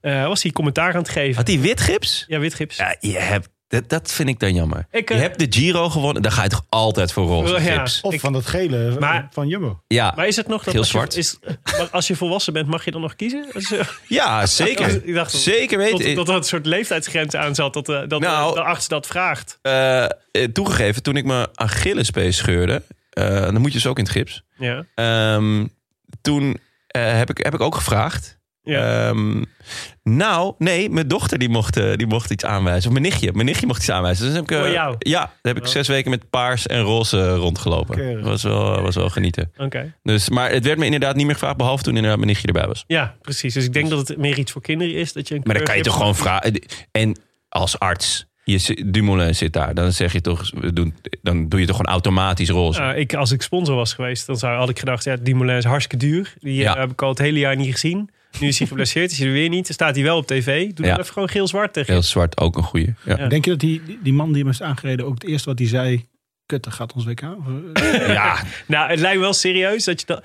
Eh, was hij commentaar aan het geven.
Had hij wit gips?
Ja, wit gips.
Ja, je hebt, dat, dat vind ik dan jammer.
Ik,
je
eh,
hebt de Giro gewonnen, daar ga je toch altijd voor roze
Ja.
gips?
Of
Ik-
van dat gele eh,
Maar-
van Jumbo?
Ja,
Maar is het nog dat
Geel
als,
zwart.
Je, is, maar als je volwassen bent, mag je dan nog kiezen? Dus, eh,
ja [LAUGHS]
Ik
zeker.
dacht-
zeker
dat,
weten.
dat er een soort leeftijdsgrens aan zat, dat, eh, dat
Nou.
de arts dat vraagt.
Eh, eh, toegegeven, toen ik mijn Achillespees scheurde, eh, dan moet je dus ook in het gips.
Ja.
Ehm, toen eh, heb, ik, heb ik ook gevraagd.
Ja.
Ehm, nou, nee, mijn dochter die mocht, eh, die mocht iets aanwijzen. Of mijn nichtje, mijn nichtje mocht iets aanwijzen. Dus dan heb ik, eh,
Voor jou? Oh.
Ja, dan heb ik zes weken met paars en roze rondgelopen.
Keurig.
Dat was wel, was wel genieten.
Oké.
Dus, maar het werd me inderdaad niet meer gevraagd, behalve toen inderdaad mijn nichtje erbij was.
Ja, precies. Dus ik denk dat het meer iets voor kinderen is. Dat je een
Maar dan kan je
kleurgips-
toch gewoon vragen. eh, En als arts, je, zit- Dumoulin zit daar, dan zeg je toch, we doen, dan doe je toch gewoon automatisch roze.
Nou, ik, als ik sponsor was geweest, dan zou, had ik gedacht, ja, die Moulin is hartstikke duur. Die eh,
Ja.
heb ik al het hele jaar niet gezien. Nu is hij
[LAUGHS]
geblesseerd, is hij er weer niet. Dan staat hij wel op tv. Doe
Ja.
dan even gewoon geel-zwart tegen.
Heel zwart ook een goeie. Ja.
Ja.
Denk je dat die, die man die hem is aangereden ook het eerste wat hij zei... Kut, dat gaat ons WK? Of, eh,
Ja.
Nou, het lijkt me wel serieus dat je dan...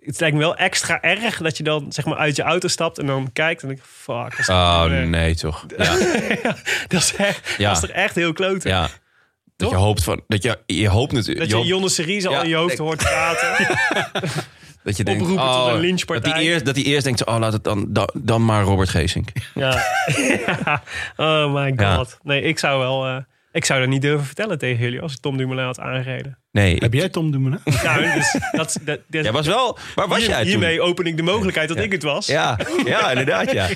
Het lijkt me wel extra erg dat je dan zeg maar uit je auto stapt en dan kijkt en denk ik, fuck. dat is-
Oh
eh,
nee, toch? Ja.
[LAUGHS] Dat is, echt,
Ja.
dat is toch echt heel klote.
ja. Dat je hoopt van, dat je, je hoopt natuurlijk.
Dat
je
je
hoopt-
Jonne Serize al
Ja,
in je hoofd
ik-
hoort praten.
[LAUGHS] dat je denkt,
oproepen tot
oh,
een lynchpartij.
Dat hij eerst, dat hij eerst denkt, oh laat het dan, dan, dan maar Robert Geesink.
Ja. [LAUGHS] Oh my god.
Ja.
Nee, ik zou wel... eh, ik zou dat niet durven vertellen tegen jullie als ik Tom Dumoulin had aangereden.
Nee. ik-
heb jij Tom Dumoulin?
Nou, dus dat, dat, dat-
jij was wel, waar was
hier-
jij toen?
Hiermee open ik de mogelijkheid dat ik het was.
Ja, ja, inderdaad ja.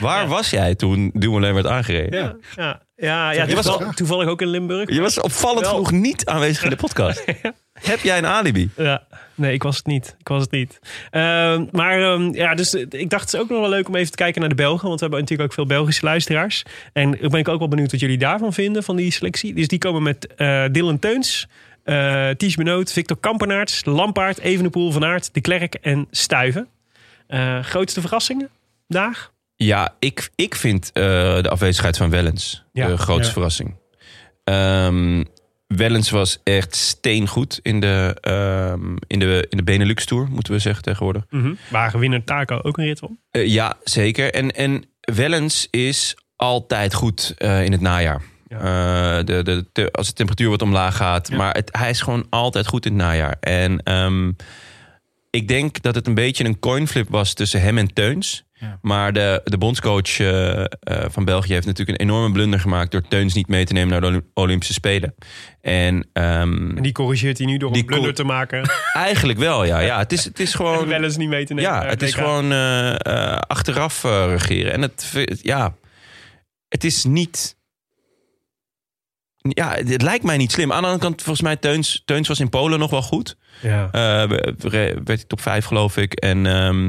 Waar was jij toen Dumoulin werd aangereden?
Ja.
ja, ja, ja,
Je was
toeval-
al-
toevallig ook in Limburg.
Je was opvallend
Wel. [LAUGHS]
genoeg niet aanwezig in de podcast. Heb jij een alibi?
Ja, nee, ik was het niet. Ik was het niet. Ehm, maar ehm, ja, dus eh, ik dacht het is ook nog wel leuk om even te kijken naar de Belgen. Want we hebben natuurlijk ook veel Belgische luisteraars. En ik ben ik ook wel benieuwd wat jullie daarvan vinden, van die selectie. Dus die komen met eh, Dylan Teuns, eh Ties Benoot, Victor Kampenaerts, Lampaard, Evenepoel, Van Aert, De Klerk en Stuiven. Eh, grootste verrassingen daar?
Ja, ik, ik vind eh, de afwezigheid van Wellens
Ja,
de grootste
ja.
verrassing. Ehm, Wellens was echt steengoed in de, ehm, in de, in de Benelux-tour, moeten we zeggen tegenwoordig.
Waar winnaar Taco ook een rit om?
Eh, ja, zeker. En, en Wellens is altijd goed eh, in het najaar. Eh, de, de, te- als de temperatuur wat omlaag gaat. Maar het, hij is gewoon altijd goed in het najaar. En ehm, ik denk dat het een beetje een coinflip was tussen hem en Teuns. Maar de, de bondscoach eh, eh, van België heeft natuurlijk een enorme blunder gemaakt... door Teuns niet mee te nemen naar de Olymp- Olympische Spelen. En ehm,
En die corrigeert hij nu door
Die
een blunder
cor-
te maken.
eigenlijk wel, ja. ja het, is, het is
en
gewoon...
[LAUGHS] wel eens niet mee te nemen.
Ja,
naar
het is
WK.
gewoon eh, eh, achteraf eh, regeren. En het, v- ja, het is niet. Ja, het, het lijkt mij niet slim. Aan de andere kant, volgens mij, Teuns, Teuns was in Polen nog wel goed.
Ja.
Eh, we- we- werd hij top 5, geloof ik. En, ehm,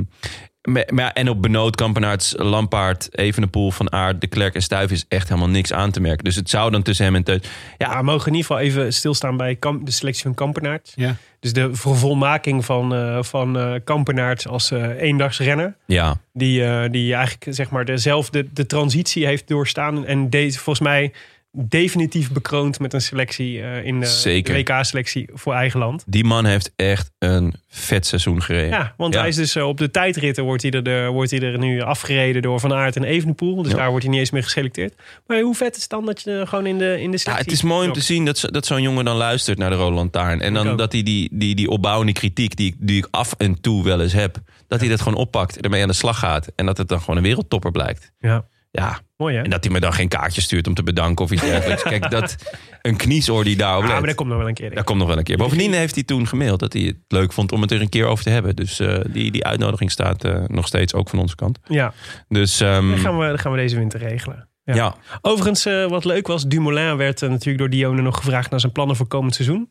me- maar ja, en op Benoot, Kampenaerts, Lampaard, Evenepoel, Van Aert, De Klerk en Stuif is echt helemaal niks aan te merken. Dus het zou dan tussen hem en Teuns...
Ja, we mogen in ieder geval even stilstaan bij Kam- de selectie van Kampenaert.
Ja.
Dus de vervolmaking van, eh van eh, Kampenaert als eh, eendagsrenner.
Ja,
Die, eh, die eigenlijk zeg maar dezelfde de transitie heeft doorstaan. En deze volgens mij definitief bekroond met een selectie eh, in de,
Zeker.
WK-selectie voor eigen land.
die man heeft echt een vet seizoen gereden.
Ja, want
Ja.
hij is dus eh, op de tijdritten wordt hij, er, eh, wordt hij er nu afgereden door Van Aert en Evenepoel. Dus
Ja.
daar wordt hij niet eens meer geselecteerd. Maar hoe vet is het dan dat je eh, gewoon in de, in de
Ja,
selectie...
het is mooi om te
knokt?
zien dat, zo- dat zo'n jongen dan luistert naar de Roland Lantaarn. En
Ik
dan
ook.
dat hij die, die, die opbouwende kritiek die, ik- die ik af en toe wel eens heb... dat hij dat gewoon oppakt en ermee aan de slag gaat. En dat het dan gewoon een wereldtopper blijkt.
Ja,
Ja,
mooi hè?
en dat hij me dan geen kaartje stuurt om te bedanken of iets
[LAUGHS]
dergelijks. Kijk, dat een kniesoor die daarop
Ja,
let,
Ah, maar
dat,
dat komt nog wel een keer. denk ik.
komt nog wel een keer. Bovendien heeft hij toen gemaild dat hij het leuk vond om het er een keer over te hebben. Dus eh, die, die uitnodiging staat eh, nog steeds ook van onze kant.
Ja,
Dus ehm,
dan gaan, we, dan gaan we deze winter regelen. Ja.
ja,
Overigens, eh, wat leuk was, Dumoulin werd eh, natuurlijk door Dione nog gevraagd naar zijn plannen voor komend seizoen.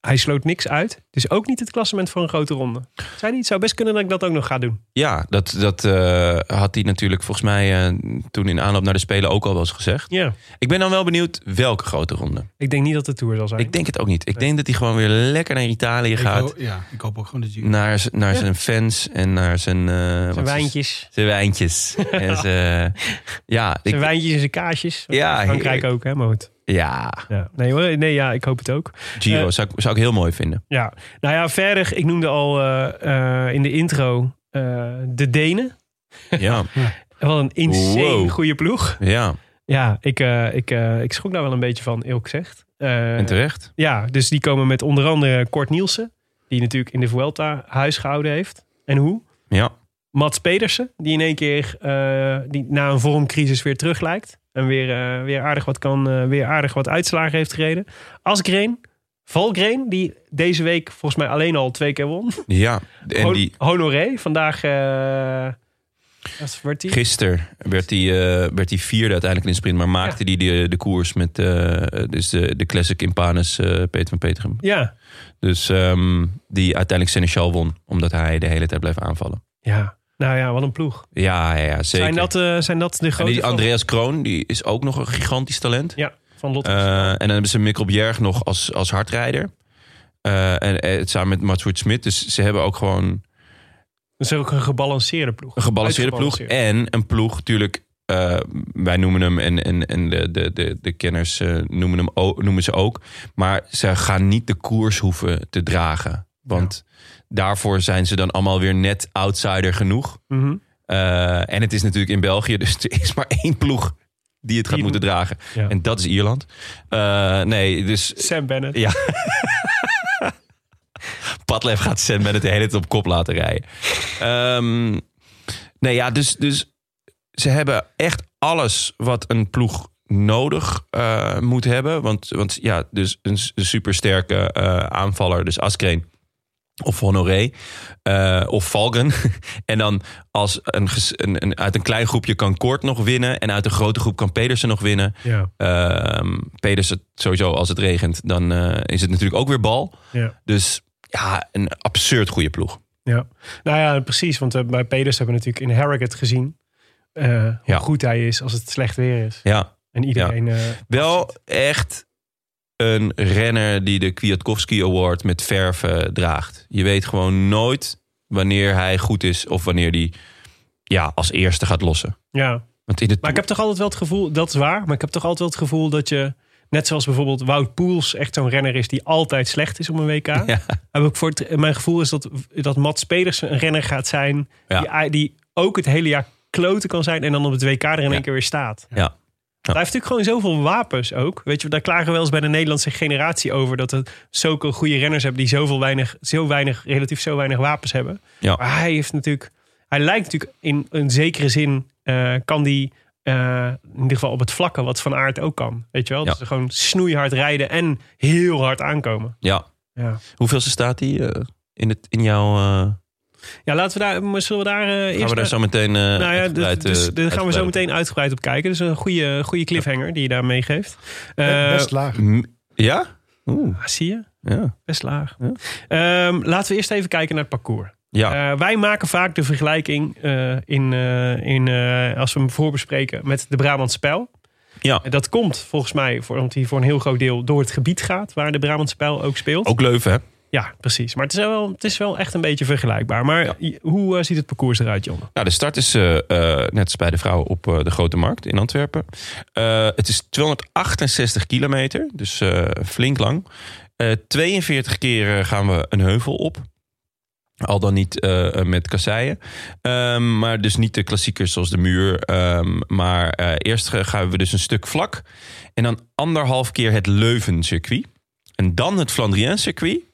Hij sloot niks uit. Dus ook niet het klassement voor een grote ronde. Zei hij, het zou best kunnen dat ik dat ook nog ga doen.
Ja, dat, dat eh, had hij natuurlijk volgens mij eh, toen in aanloop naar de Spelen ook al wel eens gezegd.
Ja,
Ik ben dan wel benieuwd welke grote ronde.
ik denk niet dat de Tour zal zijn.
Ik denk het ook niet. Ik denk dat hij gewoon weer lekker naar Italië
Ik,
gaat.
hoop- ja, ik hoop ook gewoon dat je...
Nou,
Naar, z- naar zijn fans en naar zijn... eh, wat
zijn
is-
wijntjes.
Zijn
[LAUGHS]
wijntjes. en zijn, eh, ja, ik-
Zijn wijntjes en zijn kaasjes.
Ja,
Frankrijk
heerlijk.
ook, hè, maar goed.
ja,
Ja. Nee, hoor, nee, ja, ik hoop het ook.
Giro
Eh,
zou, ik, zou ik heel mooi vinden.
Ja, nou ja, verder, ik noemde al eh, eh, in de intro eh, de Denen.
Ja,
Wat een insane
Wow.
goede ploeg. [LAUGHS]
ja.
Ja, ik, eh, ik, eh, ik schrok daar wel een beetje van, eerlijk gezegd. Eh,
en terecht.
ja, dus die komen met onder andere Kort Nielsen. Die natuurlijk in de Vuelta huisgehouden heeft. En hoe?
Ja,
Mats Pedersen, die in één keer eh, die na een vormcrisis weer terug lijkt. En weer, eh, weer, aardig wat kan, eh, weer aardig wat uitslagen heeft gereden. Asgreen, Valgreen, die deze week volgens mij alleen al twee keer won.
ja. En
Hon-
die,
Honoré, vandaag... eh wat wordt die?
Gisteren werd hij, eh, werd hij vierde uiteindelijk in de sprint. Maar maakte hij de, de koers met eh, dus de, de classic Impanus eh, Peter van Petegem.
Ja,
Dus ehm, die uiteindelijk Seneschal won. Omdat hij de hele tijd bleef aanvallen.
ja. Nou ja, wat een ploeg.
Ja, ja, ja zeker.
Zijn dat, eh, zijn dat de
en
grote...
die Andreas Kroon die is ook nog een gigantisch talent.
Ja, van Lotte.
Eh, en dan hebben ze Mikkel Bjerg nog als, als hardrijder. Eh, en, eh, samen met Mats Smit. Dus ze hebben ook gewoon
dat is ook een gebalanceerde ploeg.
Een gebalanceerde ploeg. En een ploeg, natuurlijk. eh, wij noemen hem en, en, en de, de, de, de kenners eh, noemen, hem ook, noemen ze ook. Maar ze gaan niet de koers hoeven te dragen. Want daarvoor zijn ze dan allemaal weer net outsider genoeg.
Mhm.
Eh, en het is natuurlijk in België, dus er is maar één ploeg die het gaat
Die-
moeten dragen.
Ja.
En dat is Ierland. Eh, nee, dus
Sam Bennett.
Ja. Padlef gaat Sam Bennett de hele tijd op kop laten rijden. Ehm, nee, ja, dus, dus ze hebben echt alles wat een ploeg nodig eh, moet hebben. Want, want ja, dus een, s- een supersterke eh, aanvaller, dus Askreen. Of Honoré. eh, of Valken. [LAUGHS] en dan als een, ges- een, een, uit een klein groepje kan Kort nog winnen. En uit een grote groep kan Pedersen nog winnen.
Ja,
Ehm Pedersen, sowieso als het regent, dan eh, is het natuurlijk ook weer bal.
ja,
Dus ja, een absurd goede ploeg.
ja. Nou ja, precies. Want eh, bij Peders hebben we natuurlijk in Harrogate gezien. eh,
Ja.
Hoe goed hij is als het slecht weer is.
Ja,
En iedereen... eh,
wel echt een renner die de Kwiatkowski Award met verve draagt. Je weet gewoon nooit wanneer hij goed is of wanneer hij ja, als eerste gaat lossen.
ja.
Want in de
Maar ik heb toch altijd wel het gevoel, dat is waar, maar ik heb toch altijd wel het gevoel dat je, net zoals bijvoorbeeld Wout Poels, echt zo'n renner is die altijd slecht is op een WK.
[LAUGHS] Ja.
Heb ik voor het, mijn gevoel is dat, dat Mats Pedersen een renner gaat zijn
Ja.
die, die ook het hele jaar kloten kan zijn en dan op het WK er in
Ja.
één keer weer staat.
Ja.
Hij heeft natuurlijk gewoon zoveel wapens ook. Weet je, daar klagen we wel eens bij de Nederlandse generatie over. Dat het zulke goede renners hebben die zoveel weinig, zo weinig, relatief zo weinig wapens hebben.
Ja.
Maar hij heeft natuurlijk, hij lijkt natuurlijk in een zekere zin, eh, kan die eh, in ieder geval op het vlakke wat van aard ook kan. Weet je wel?
Ja.
Dus gewoon snoeihard rijden en heel hard aankomen.
ja.
Ja,
Hoeveelste staat hij eh, in, het, in jouw... eh,
ja laten we daar, maar zullen we daar eh, eerst...
gaan we daar
naar-
zo meteen... eh,
nou ja, dus,
uitgebreid, eh,
dus daar gaan we
uitgebreid
zo
op
meteen uitgebreid op kijken. Dus een goede, goede cliffhanger die je daar meegeeft. Eh,
Best laag.
Mm, Ja? Oeh,
ah, zie je?
ja.
Best laag.
Ja. Ah.
Ehm, laten we eerst even kijken naar het parcours.
Ja,
Eh, wij maken vaak de vergelijking eh, in, eh, in, eh, als we hem voorbespreken met de Brabantse Pijl.
ja.
En Dat komt volgens mij, voor, omdat hij voor een heel groot deel door het gebied gaat waar de Brabantse Pijl ook speelt.
Ook Leuven, hè?
Ja, precies. Maar het is, wel, het is wel echt een beetje vergelijkbaar. Maar i- hoe eh, ziet het parcours eruit, John?
Nou, de start is eh, eh, net als bij de vrouwen op eh, de Grote Markt in Antwerpen. Eh, het is 268 kilometer, dus eh, flink lang. Eh, 42 keer eh, gaan we een heuvel op. Al dan niet eh, met kasseien. Ehm, maar dus niet de klassiekers zoals de muur. Ehm, maar eh, eerst eh, gaan we dus een stuk vlak. En dan anderhalf keer het Leuven-circuit. En dan het Flandrien-circuit.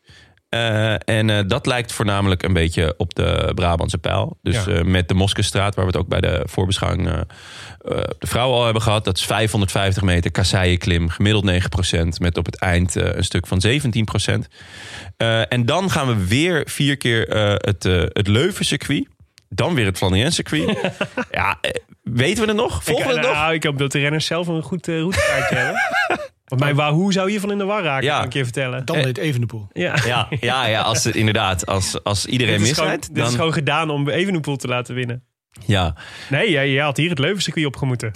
Eh, en eh, dat lijkt voornamelijk een beetje op de Brabantse pijl. Dus
Ja.
eh, met de Moskestraat, waar we het ook bij de voorbeschouwing eh, eh, de vrouwen al hebben gehad. Dat is 550 meter kasseienklim, gemiddeld 9%. Met op het eind eh, een stuk van 17%. Eh, en dan gaan we weer vier keer eh, het, eh, het Leuven-circuit. Dan weer het
[LAUGHS]
Flandrien-circuit. ja, eh, weten we het nog? Volgen we
ik,
het nog?
nou, ik hoop dat de renners zelf een goed eh, routekaartje
[LAUGHS]
hebben. Want mijn Wahoo zou hiervan in de war raken,
Ja.
kan ik je vertellen.
Dan deed Evenepoel.
[LAUGHS] ja.
Ja, ja, ja als, het- inderdaad. Als, als iedereen
Dit, is gewoon,
misleidt,
dit is
dan...
gewoon gedaan om Evenepoel te laten winnen.
Ja.
Nee, jij, jij had hier het Leuvencircuit op gemoeten.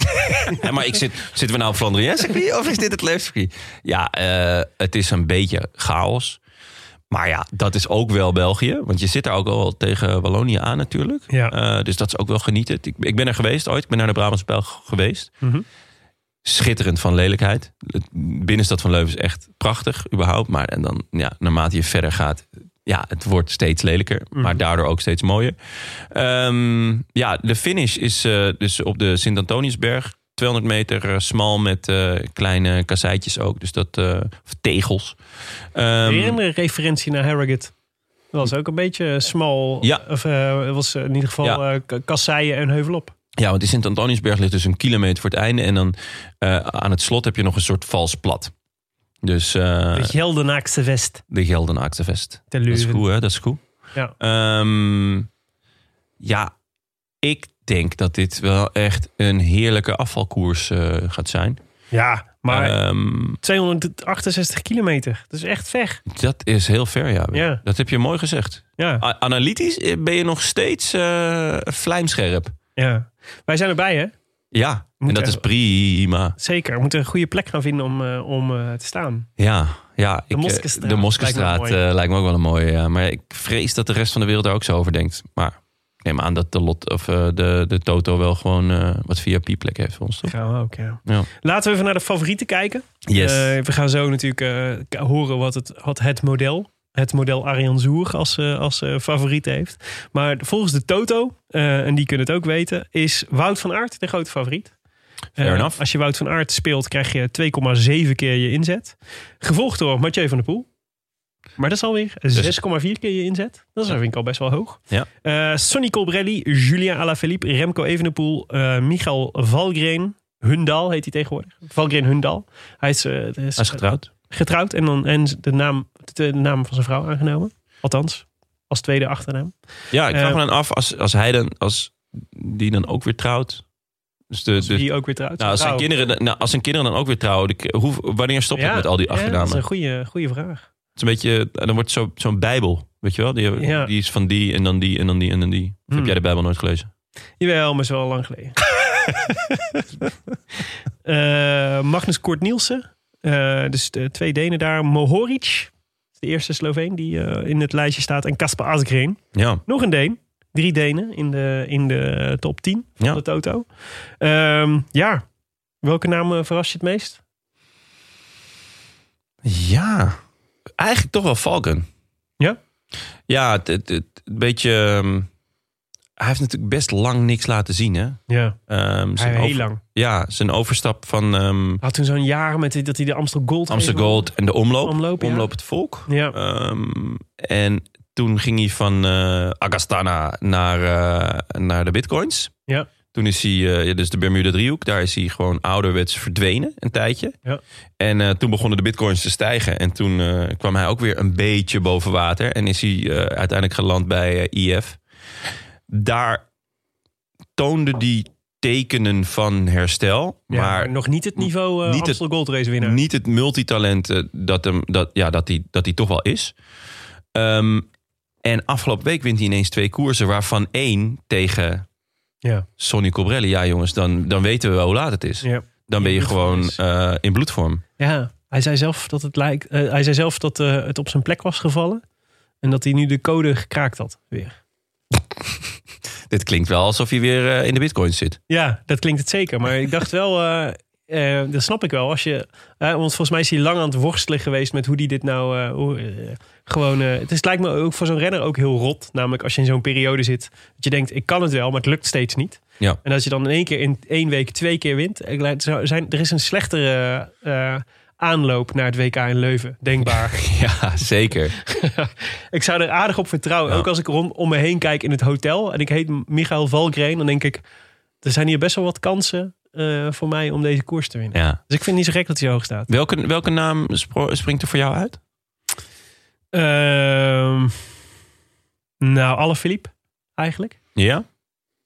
Ja, maar ik zit, zitten we nou op Flandrien circuit of is dit het Leefcircuit? Ja, eh, het is een beetje chaos. Maar ja, dat is ook wel België. Want je zit daar ook al tegen Wallonië aan natuurlijk.
Ja.
Eh, dus dat is ook wel genieten. Ik, ik ben er geweest ooit. Ik ben naar de Brabantse Pijl g- geweest.
Mhm.
Schitterend van lelijkheid. Het binnenstad van Leuven is echt prachtig überhaupt. Maar en dan, ja, naarmate je verder gaat... Ja, het wordt steeds lelijker.
Mhm.
Maar daardoor ook steeds mooier. Ehm, ja, de finish is eh, dus op de Sint-Antoniusberg. 200 meter eh, smal met eh, kleine kasseitjes ook. Dus dat, eh, of tegels. Ehm,
Weer een referentie naar Harrogate. Dat was ook een beetje eh, smal.
Ja.
Of eh, was in ieder geval
Ja.
eh, k- kasseien en heuvelop.
ja, want die Sint-Antoniusberg ligt dus een kilometer voor het einde. En dan eh, aan het slot heb je nog een soort vals plat. Dus eh,
De Geldenaakse vest.
de Geldenaakstevest.
Te
Dat is
Leuven.
goed, hè? Dat is goed.
Ja.
Ehm, ja, ik denk dat dit wel echt een heerlijke afvalkoers eh, gaat zijn.
Ja, maar
Ehm,
268 kilometer. Dat is echt ver.
Dat is heel ver, ja.
Ja.
Dat heb je mooi gezegd.
Ja.
A- analytisch eh, ben je nog steeds eh vlijmscherp.
ja. Wij zijn erbij, hè?
Ja, en
Moet
dat
echt-
is prima.
Zeker. We moeten een goede plek gaan vinden om, eh, om eh, te staan.
Ja, ja ik, eh,
Moskestraat
de Moskestraat
lijkt me mooi.
eh, lijkt me ook wel een mooie. Ja. Maar ik vrees dat de rest van de wereld daar ook zo over denkt. Maar ik neem aan dat de, lot, of, eh, de, de Toto wel gewoon eh, wat VIP-plek heeft voor ons. Toch?
Gaan we ook, ja.
Ja.
Laten we even naar de favorieten kijken.
Yes.
Eh, we gaan zo natuurlijk eh, k- horen wat het, wat het model, het model Arjan Zoer als, eh, als eh, favoriet heeft. Maar volgens de Toto, eh, en die kunnen het ook weten, is Wout van Aert de grote favoriet.
Fair
Eh,
enough.
Als je Wout van Aert speelt, krijg je 2,7 keer je inzet. Gevolgd door Mathieu van der Poel. Maar dat is alweer
Dus-
6,4 keer je inzet. Dat is vind ik al best wel hoog.
Ja.
Eh, Sonny Colbrelli, Julien Alaphilippe, Remco Evenepoel, eh, Michael Valgren, Hundal heet hij tegenwoordig. Valgren Hundal. Hij is, eh,
Hij is getrouwd.
getrouwd en, dan, en de, naam, de naam van zijn vrouw aangenomen. Althans, als tweede achternaam.
Ja, ik vraag
Eh,
me dan af als, als hij dan, als die dan ook weer trouwt. Dus de, de,
Die ook weer trouwt.
nou, als, zijn
Trouw.
kinderen, dan- nou, als zijn kinderen dan ook weer trouwen, de k- hoe, wanneer stopt
Ja,
het met al die
ja, dat
achternamen?
is een goede, goede vraag.
Het is een beetje, dan wordt het zo, zo'n Bijbel, weet je wel? Die,
Ja.
die is van die en dan die en dan die en dan die. Of
Hmm.
Heb jij de Bijbel nooit gelezen?
Jawel, maar is wel lang
[LAUGHS]
geleden. Eh, Magnus Kort Nielsen. Eh, dus de twee Denen daar. Mohoric. De eerste Sloveen die eh, in het lijstje staat. En Kasper Asgreen.
Ja.
Nog een Deen. Drie Denen in de, in de top 10 van
Ja.
de Toto. Ehm, ja. Welke naam eh, verrast je het meest?
Ja. Eigenlijk toch wel Falcon.
Ja?
Ja, het, het, het- een beetje... ehm, hij heeft natuurlijk best lang niks laten zien, hè?
Ja,
Ehm,
hij
zijn
heel
over-
lang.
Ja, zijn overstap van ehm
Had toen zo'n jaar met die- dat hij de Amstel Gold
Amsterdam
heeft
Gold en de omloop.
Omloop, ja.
het volk.
gewonnen. Ja.
Ehm, en toen ging hij van eh, Agastana naar, eh, naar de bitcoins.
Ja.
Toen is hij, eh, ja, dus de Bermuda driehoek, daar is hij gewoon ouderwets verdwenen een tijdje.
Ja.
En eh, toen begonnen de bitcoins te stijgen. En toen eh, kwam hij ook weer een beetje boven water. En is hij eh, uiteindelijk geland bij eh, IF. Daar toonde die tekenen van herstel.
Ja,
maar
maar nog niet het niveau eh,
niet het-
Amstel Gold Race winnaar.
niet het multitalent eh, dat hem, dat, ja, dat hij dat hij toch wel is. Ehm, en afgelopen week wint hij ineens twee koersen, waarvan één tegen
Ja.
Sonny Cobrelli. Ja, jongens, dan, dan weten we wel hoe laat het is.
Ja.
Dan ben je
In bloedvorm
gewoon
is.
eh, in bloedvorm.
Ja, hij zei zelf dat het lijkt. eh, hij zei zelf dat eh, het op zijn plek was gevallen. En dat hij nu de code gekraakt had weer.
Dit klinkt wel alsof je weer eh, in de bitcoins
[LAUGHS]
zit.
Ja, dat klinkt het zeker. Maar ik dacht wel, eh, eh, dat snap ik wel. Als je, eh, want volgens mij is hij lang aan het worstelen geweest met hoe die dit nou. eh, hoe, eh, gewoon, eh, het is, lijkt me ook voor zo'n renner ook heel rot. Namelijk als je in zo'n periode zit. Dat je denkt, ik kan het wel, maar het lukt steeds niet.
Ja.
En als je dan in één keer in één week twee keer wint. ik lijkt- zou- Zijn, er is een slechtere eh, aanloop naar het WK in Leuven, denkbaar.
Ja, zeker.
ik zou er aardig op vertrouwen.
Ja.
Ook als ik om, om me heen kijk in het hotel en ik heet Michael Valgreen, dan denk ik, er zijn hier best wel wat kansen eh, voor mij om deze koers te winnen.
Ja.
Dus ik vind het niet zo gek dat hij hoog staat.
Welke, welke naam spro- springt er voor jou uit?
Ehm, nou, alle Philippe eigenlijk.
Ja?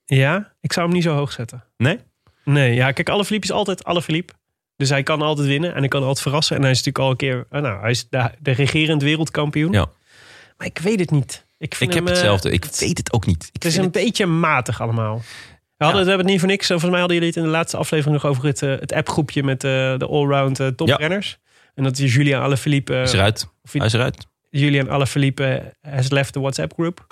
Ja, ik zou hem niet zo hoog zetten.
Nee?
Nee, ja, kijk, alle Philippe is altijd alle Philippe. Dus hij kan altijd winnen en hij kan altijd verrassen. En hij is natuurlijk al een keer, eh, nou, hij is de, de regerend wereldkampioen.
Ja.
Maar ik weet het niet. Ik, vind
Ik heb
hem, eh,
hetzelfde. Ik weet het ook niet. Ik
Het is een
vind
beetje matig allemaal. We, hadden,
Ja.
we hebben het niet voor niks. eh, Volgens mij hadden jullie het in de laatste aflevering nog over het, eh, het appgroepje met eh, de allround eh, toprenners. En dat is Julian Alaphilippe.
Hij is
eh
eruit.
of
Hij is eruit.
Julian Alaphilippe eh, has left the WhatsApp [LAUGHS] groep.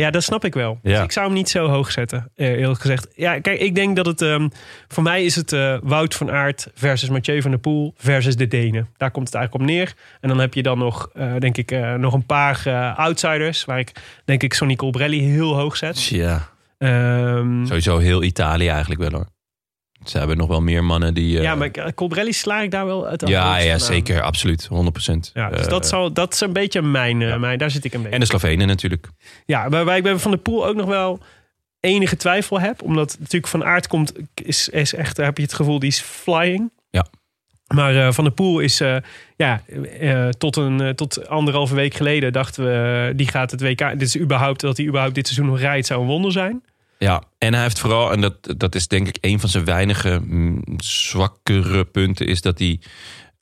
ja, dat snap ik wel. Dus
Ja.
ik zou hem niet zo hoog zetten, eh, eerlijk gezegd. Ja, kijk, ik denk dat het... ehm, voor mij is het eh, Wout van Aert versus Mathieu van der Poel versus de Denen. Daar komt het eigenlijk op neer. En dan heb je dan nog, eh, denk ik, eh, nog een paar eh, outsiders... waar ik, denk ik, Sonny Colbrelli heel hoog zet.
Ja.
Ehm,
Sowieso heel Italië eigenlijk wel hoor. Ze hebben nog wel meer mannen die... eh,
ja, maar eh, Colbrelli sla ik daar wel uit. de
Ja,
hoogste
ja
naam.
zeker. Absoluut. 100%.
ehm, Ja, dus
Eh,
dat, zal, dat is een beetje mijn, eh,
ja.
mijn... Daar zit ik een beetje.
En de Slovenen natuurlijk.
Ja, waarbij ik bij Van der Poel ook nog wel enige twijfel heb. Omdat natuurlijk Van Aert komt, is, is echt, heb je het gevoel, die is flying.
Ja.
Maar eh, Van der Poel is, eh, ja, eh, tot, een, eh, tot anderhalve week geleden dachten we, eh, die gaat het WK, dit is überhaupt, dat hij überhaupt dit seizoen nog rijdt, zou een wonder zijn.
Ja, en hij heeft vooral, en dat, dat is denk ik een van zijn weinige mm, zwakkere punten, is dat hij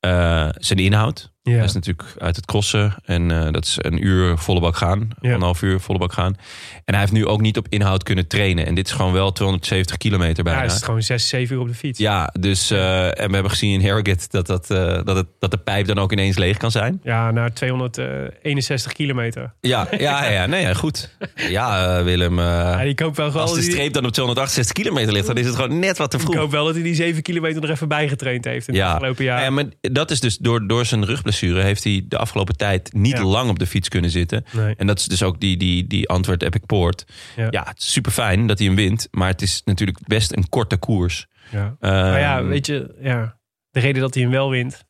eh, zijn inhoud.
Ja.
Hij is natuurlijk uit het crossen en eh, dat is een uur volle bak gaan,
Ja.
anderhalf uur volle bak gaan. En hij heeft nu ook niet op inhoud kunnen trainen. En dit is gewoon wel 270 kilometer
Ja, hij
bijna.
is gewoon zes, zeven uur op de fiets.
Ja, dus eh, en we hebben gezien in Harrogate dat, dat, eh, dat, het, dat de pijp dan ook ineens leeg kan zijn.
Ja, naar 261 kilometer.
Ja, ja, ja, nee, ja, goed. Ja, eh, Willem. eh,
Ja, ik hoop wel gewoon
als de
dat hij-
streep dan op 268 kilometer ligt, dan is het gewoon net wat te
ik
vroeg.
hoop wel dat hij die 7 kilometer er even bij getraind heeft in de
Ja.
afgelopen jaar.
Nou ja, maar dat is dus door, door zijn rugblessure heeft hij de afgelopen tijd niet
Ja.
lang op de fiets kunnen zitten.
Nee.
En dat is dus ook die, die, die Antwerp Epic Poort.
Ja.
Ja, super fijn dat hij hem wint, maar het is natuurlijk best een korte koers.
Ja.
Ehm,
Maar ja, weet je, ja, de reden dat hij hem wel wint,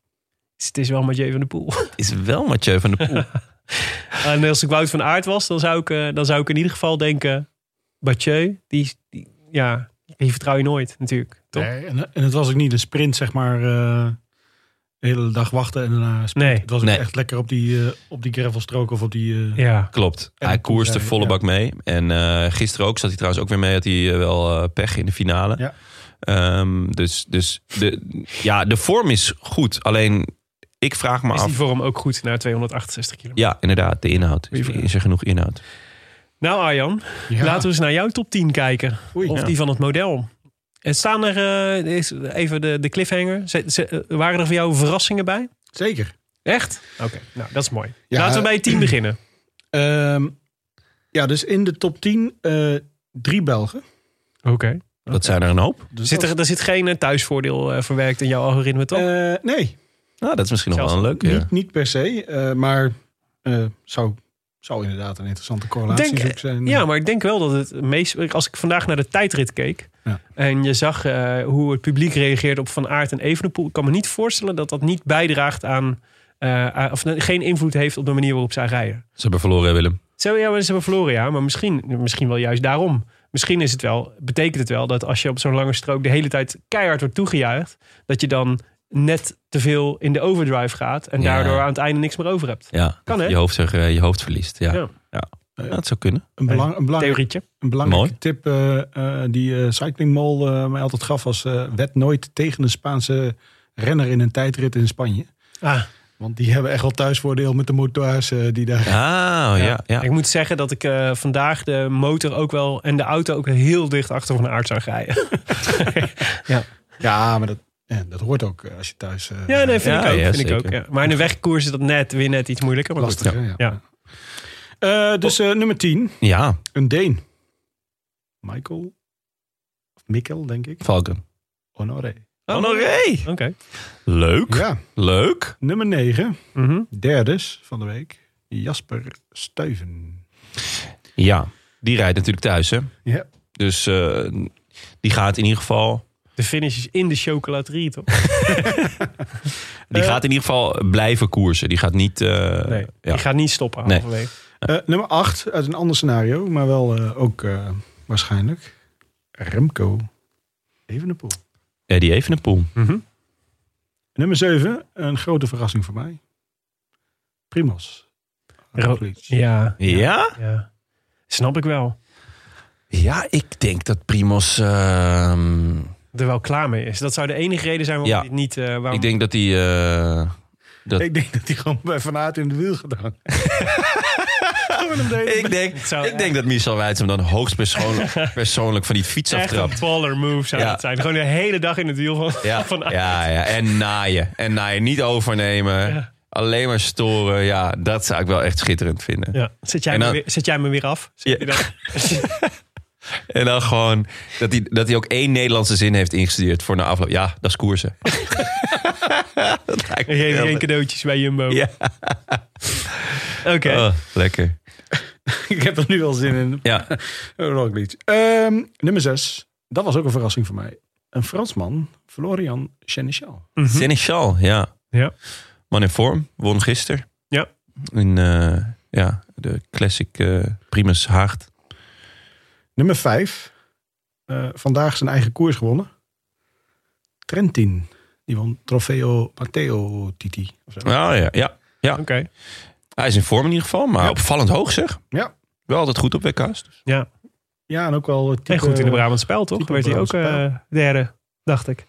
is het is wel Mathieu van der Poel.
Is wel Mathieu van der Poel.
[LAUGHS] en als ik Wout van Aert was, dan zou ik, eh, dan zou ik in ieder geval denken, Mathieu, die, die, ja, die vertrouw je nooit natuurlijk, toch?
Nee, en, en het was ook niet een sprint, zeg maar, eh, de hele dag wachten en daarna sprinten.
Nee.
Het was ook
Nee.
echt lekker op die, eh, op die gravelstrook of op die... eh,
Ja.
Klopt.
En
hij
toen
koerste
zei-
volle
ja.
bak mee. En eh, gisteren ook zat hij trouwens ook weer mee. Had hij eh, wel eh, pech in de finale.
Ja.
Ehm, dus dus de, ja, de vorm is goed. Alleen ik vraag me
Is die
af.
vorm ook goed na 268 kilometer?
Ja, inderdaad, de inhoud. Is,
Goeie vraag.
is er genoeg inhoud?
Nou Arjan,
ja.
laten we eens naar jouw top 10 kijken.
Oei.
Of
Ja.
die van het model. En staan er, eh, is- even de, de cliffhanger, Ze- ze- waren er voor jou verrassingen bij?
Zeker.
Echt? Oké, nou dat is mooi.
Ja,
Laten we bij het team beginnen.
Ehm, ja, dus in de top 10 eh, drie Belgen.
Oké.
Dat zijn er een hoop.
Dus
Zit
dat-
er, er zit geen eh, thuisvoordeel eh, verwerkt in jouw algoritme, toch?
Eh, nee,
Nou, dat is misschien nog wel een
Zelfs
leuke. ja.
niet, niet per se. eh, maar eh, zou, zou inderdaad een interessante correlatie
Denk-
ook zijn. eh.
Ja, maar ik denk wel dat het meest... Als ik vandaag naar de tijdrit keek...
Ja.
en je zag eh, hoe het publiek reageerde op Van Aert en Evenepoel... ik kan me niet voorstellen dat dat niet bijdraagt aan... eh, aan- of geen invloed heeft op de manier waarop zij rijden.
Ze hebben verloren, hè, Willem.
Zo, ja, maar ze hebben verloren, ja. Maar misschien, misschien wel juist daarom. Misschien is het wel, betekent het wel dat als je op zo'n lange strook... de hele tijd keihard wordt toegejuicht... dat je dan net te veel in de overdrive gaat... en
Ja.
daardoor aan het einde niks meer over hebt.
Ja,
Kan, hè?
je hoofd, zeg, eh, je hoofd verliest. Ja.
Ja.
Ja. Ja, dat zou kunnen.
een, belang, een, belang,
Theorietje.
een belangrijke
Mooi.
tip eh, eh, die eh Cycling Mall eh, mij altijd gaf was... eh wed nooit tegen een Spaanse renner in een tijdrit in Spanje.
Ah,
Want die hebben echt wel thuisvoordeel met de motards eh, die daar...
Ah, ja, ja.
Ik moet zeggen dat ik eh, vandaag de motor ook wel en de auto ook heel dicht achter van de aard zag rijden. [LAUGHS]
Ja, maar dat, ja, dat hoort ook eh, als je thuis... eh,
Ja, nee, vind
Ja,
ik ook.
ja,
vind ik
zeker.
ook ja. Maar in de wegkoers is dat net weer net iets moeilijker. Maar goed.
Lastig, hè, ja.
Ja.
Eh, dus eh, nummer 10,
Ja,
een Deen. Michael, of Mikkel, denk ik.
Valken.
Honoré.
Honoré!
Oké.
Leuk.
Ja,
Leuk.
nummer 9,
Mhm.
derdes van de week, Jasper Stuyven.
Ja, die rijdt natuurlijk thuis, hè?
Ja.
Dus eh, die gaat in ieder geval.
De finish is in de chocolaterie, toch?
Eh, Die
Eh.
gaat in ieder geval blijven koersen. Die gaat niet. eh,
Nee,
ja.
die gaat niet stoppen
Nee.
halverwege.
Eh, nummer 8, uit een ander scenario, maar wel eh, ook eh, waarschijnlijk, Remco Evenepoel.
Eddie Evenepoel.
Mhm. Nummer 7, een grote verrassing voor mij, Primos.
Ro-
Roglic.
Ja,
Ja?
ja. Snap ik wel.
Ja, ik denk dat Primos. ehm,
Er wel klaar mee is. Dat zou de enige reden zijn waarom
Ja.
dit niet... eh, waarom...
ik denk dat hij. eh, dat,
Ik denk dat hij gewoon bij Van Aert in de wiel gedaan.
ik denk,
[LAUGHS] Het zou-
ik denk dat Michel Weitz hem dan hoogst
[LAUGHS]
persoonlijk, persoonlijk van die fiets
Echt
aftrapt.
een [LAUGHS] baller move zou
Ja.
dat zijn. Gewoon de hele dag in het wiel van,
Ja,
van
ja, ja, en naaien. En naaien. Niet overnemen.
Ja.
Alleen maar storen. Ja, dat zou ik wel echt schitterend vinden.
Ja. Zet, jij
En dan-
me weer, zet jij me weer af? Zeg
Ja.
je dan?
En dan gewoon dat hij, dat hij ook één Nederlandse zin heeft ingestudeerd voor na afloop. Ja, dat is koersen. dat lijkt me
Geen,
heel
geen
leuk.
cadeautjes bij Jumbo.
Ja.
[LAUGHS] Oké.
Oh, lekker.
ik heb er nu al zin in.
Ja,
Roglic. Ehm, nummer 6. Dat was ook een verrassing voor mij. Een Fransman, Florian Chenichal.
Seneschal, ja.
Ja.
Man in vorm, won gisteren.
Ja.
In eh, ja, de classic eh, Primus Haagd.
Nummer 5. vandaag zijn eigen koers gewonnen. Trentin. Die won Trofeo Matteo Titi. Of zo.
Oh, ja, ja.
Oké.
Hij is in vorm in ieder geval, maar
Ja.
opvallend hoog zeg.
Ja.
Wel altijd goed op WK's. dus.
Ja.
Ja, en ook wel het type,
en goed in de Brabant Spel, toch?
eh, type
Werd hij ook
Brabantspel.
eh, derde, dacht ik.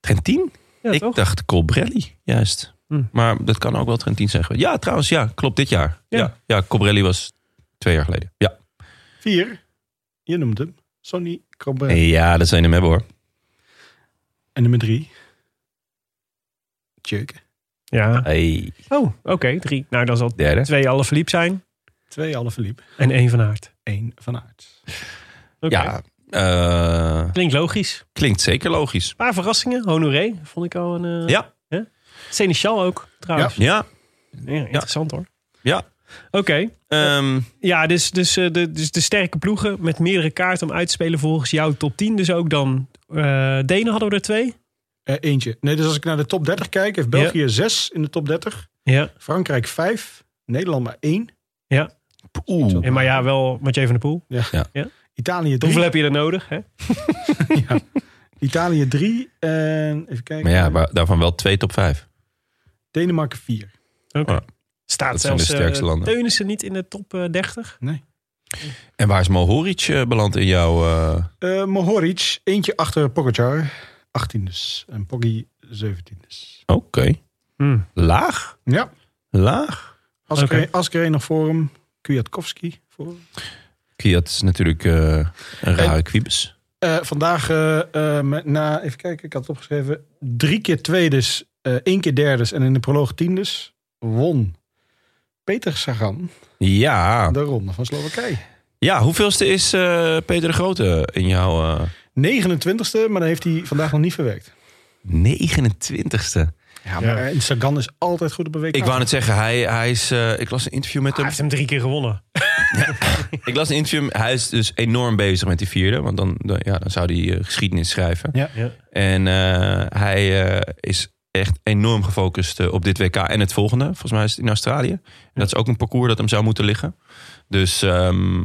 Trentin?
Ja,
ik
toch?
dacht Colbrelli, juist.
Hm.
Maar dat kan ook wel Trentin zijn geweest. Ja, trouwens, ja, klopt dit jaar.
Ja.
Ja, ja, Colbrelli was twee jaar geleden. Ja,
Vier. Je noemt hem. Sonny Cobra.
ja dat zijn hem hebben hoor.
En nummer 3. Tjeuk.
Ja.
Hey,
Oh, oké. Drie. Nou, dan zal het
derde.
twee alle verliep zijn
Twee alle verliep.
en één van Aert.
Eén van Aert.
Oké.
Ja, eh,
Klinkt logisch. Een
klinkt zeker logisch.
paar verrassingen. Honoré vond ik al een... eh
Ja.
hè? Seneschal ook, trouwens.
Ja,
Ja, interessant hoor.
Ja.
Oké.
ehm,
Ja, dus, dus, eh, de, dus de sterke ploegen met meerdere kaarten om uit te spelen volgens jouw top 10. Dus ook dan eh, Denen hadden we er twee.
Eh, eentje. Nee, dus als ik naar de top 30 kijk, heeft België 6 in de top 30.
Ja.
Frankrijk 5, Nederland maar 1,
oeh.
Eh, maar ja, wel Mathieu van der Poel.
Ja.
Italië 3.
Hoeveel heb je er nodig? Hè?
Italië 3 en even kijken.
Maar ja, waar- daarvan wel twee top vijf.
Denemarken 4.
Staat
Dat zijn
zelfs
de sterkste
eh,
landen.
Teunissen niet in de top eh, 30?
En waar is Mohoric eh, beland in jouw... eh,
Eh Mohoric, eentje achter Pogacar. 18 dus. En Poggi 17 dus.
Oké. Hm. Laag?
Ja,
Laag?
als
Oké.
Asker nog voor hem. Kwiatkowski voor hem.
Kiat is natuurlijk eh, een rare kwiebes.
Eh, vandaag, eh, eh, met- na, even kijken, ik had het opgeschreven. Drie keer tweedes, eh één keer derdes en in de proloog tiendes won Peter Sagan
Ja.
de ronde van Slowakije.
ja, hoeveelste is eh, Peter de Grote in jouw... eh
29ste, maar dat heeft hij vandaag nog niet verwerkt.
29ste.
Ja, maar eh, Sagan is altijd goed op een week.
Ik wou net zeggen, hij, hij is, eh, ik las een interview met
Ah, Hij
hem.
heeft hem drie keer gewonnen.
Ik las een interview. Hij is dus enorm bezig met die vierde. Want dan, dan- ja, dan zou hij eh, geschiedenis schrijven.
Ja.
Ja.
En eh, hij eh, is echt enorm gefocust eh, op dit WK en het volgende. Volgens mij is het in Australië. En dat is ook een parcours dat hem zou moeten liggen. Dus ehm,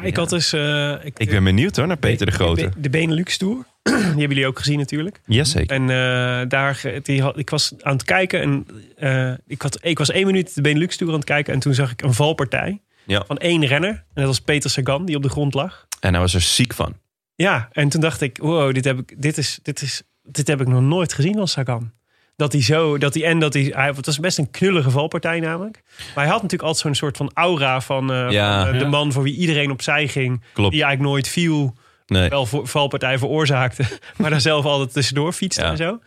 Ik had dus... eh,
ik ben benieuwd hoor naar Peter de Grote.
De Benelux Tour. [CLEARS THROAT] Die hebben jullie ook gezien natuurlijk.
Jazeker.
En eh, daar, eh, die had, ik was aan het kijken en eh, ik, had, ik was één minuut de Benelux Tour aan het kijken. En toen zag ik een valpartij
Ja.
van één renner. En dat was Peter Sagan, die op de grond lag.
En hij was er ziek van.
Ja, en toen dacht ik, wow, dit heb ik, dit is, dit is, dit heb ik nog nooit gezien als Sagan. Dat hij zo, dat hij en dat hij, hij, het was best een knullige valpartij namelijk. Maar hij had natuurlijk altijd zo'n soort van aura van, eh,
Ja.
van, eh, de
Ja.
man voor wie iedereen opzij ging.
Klopt.
Die eigenlijk nooit viel
Nee.
wel voor, valpartij veroorzaakte. [LAUGHS] Maar daar zelf altijd tussendoor fietste
Ja.
en zo.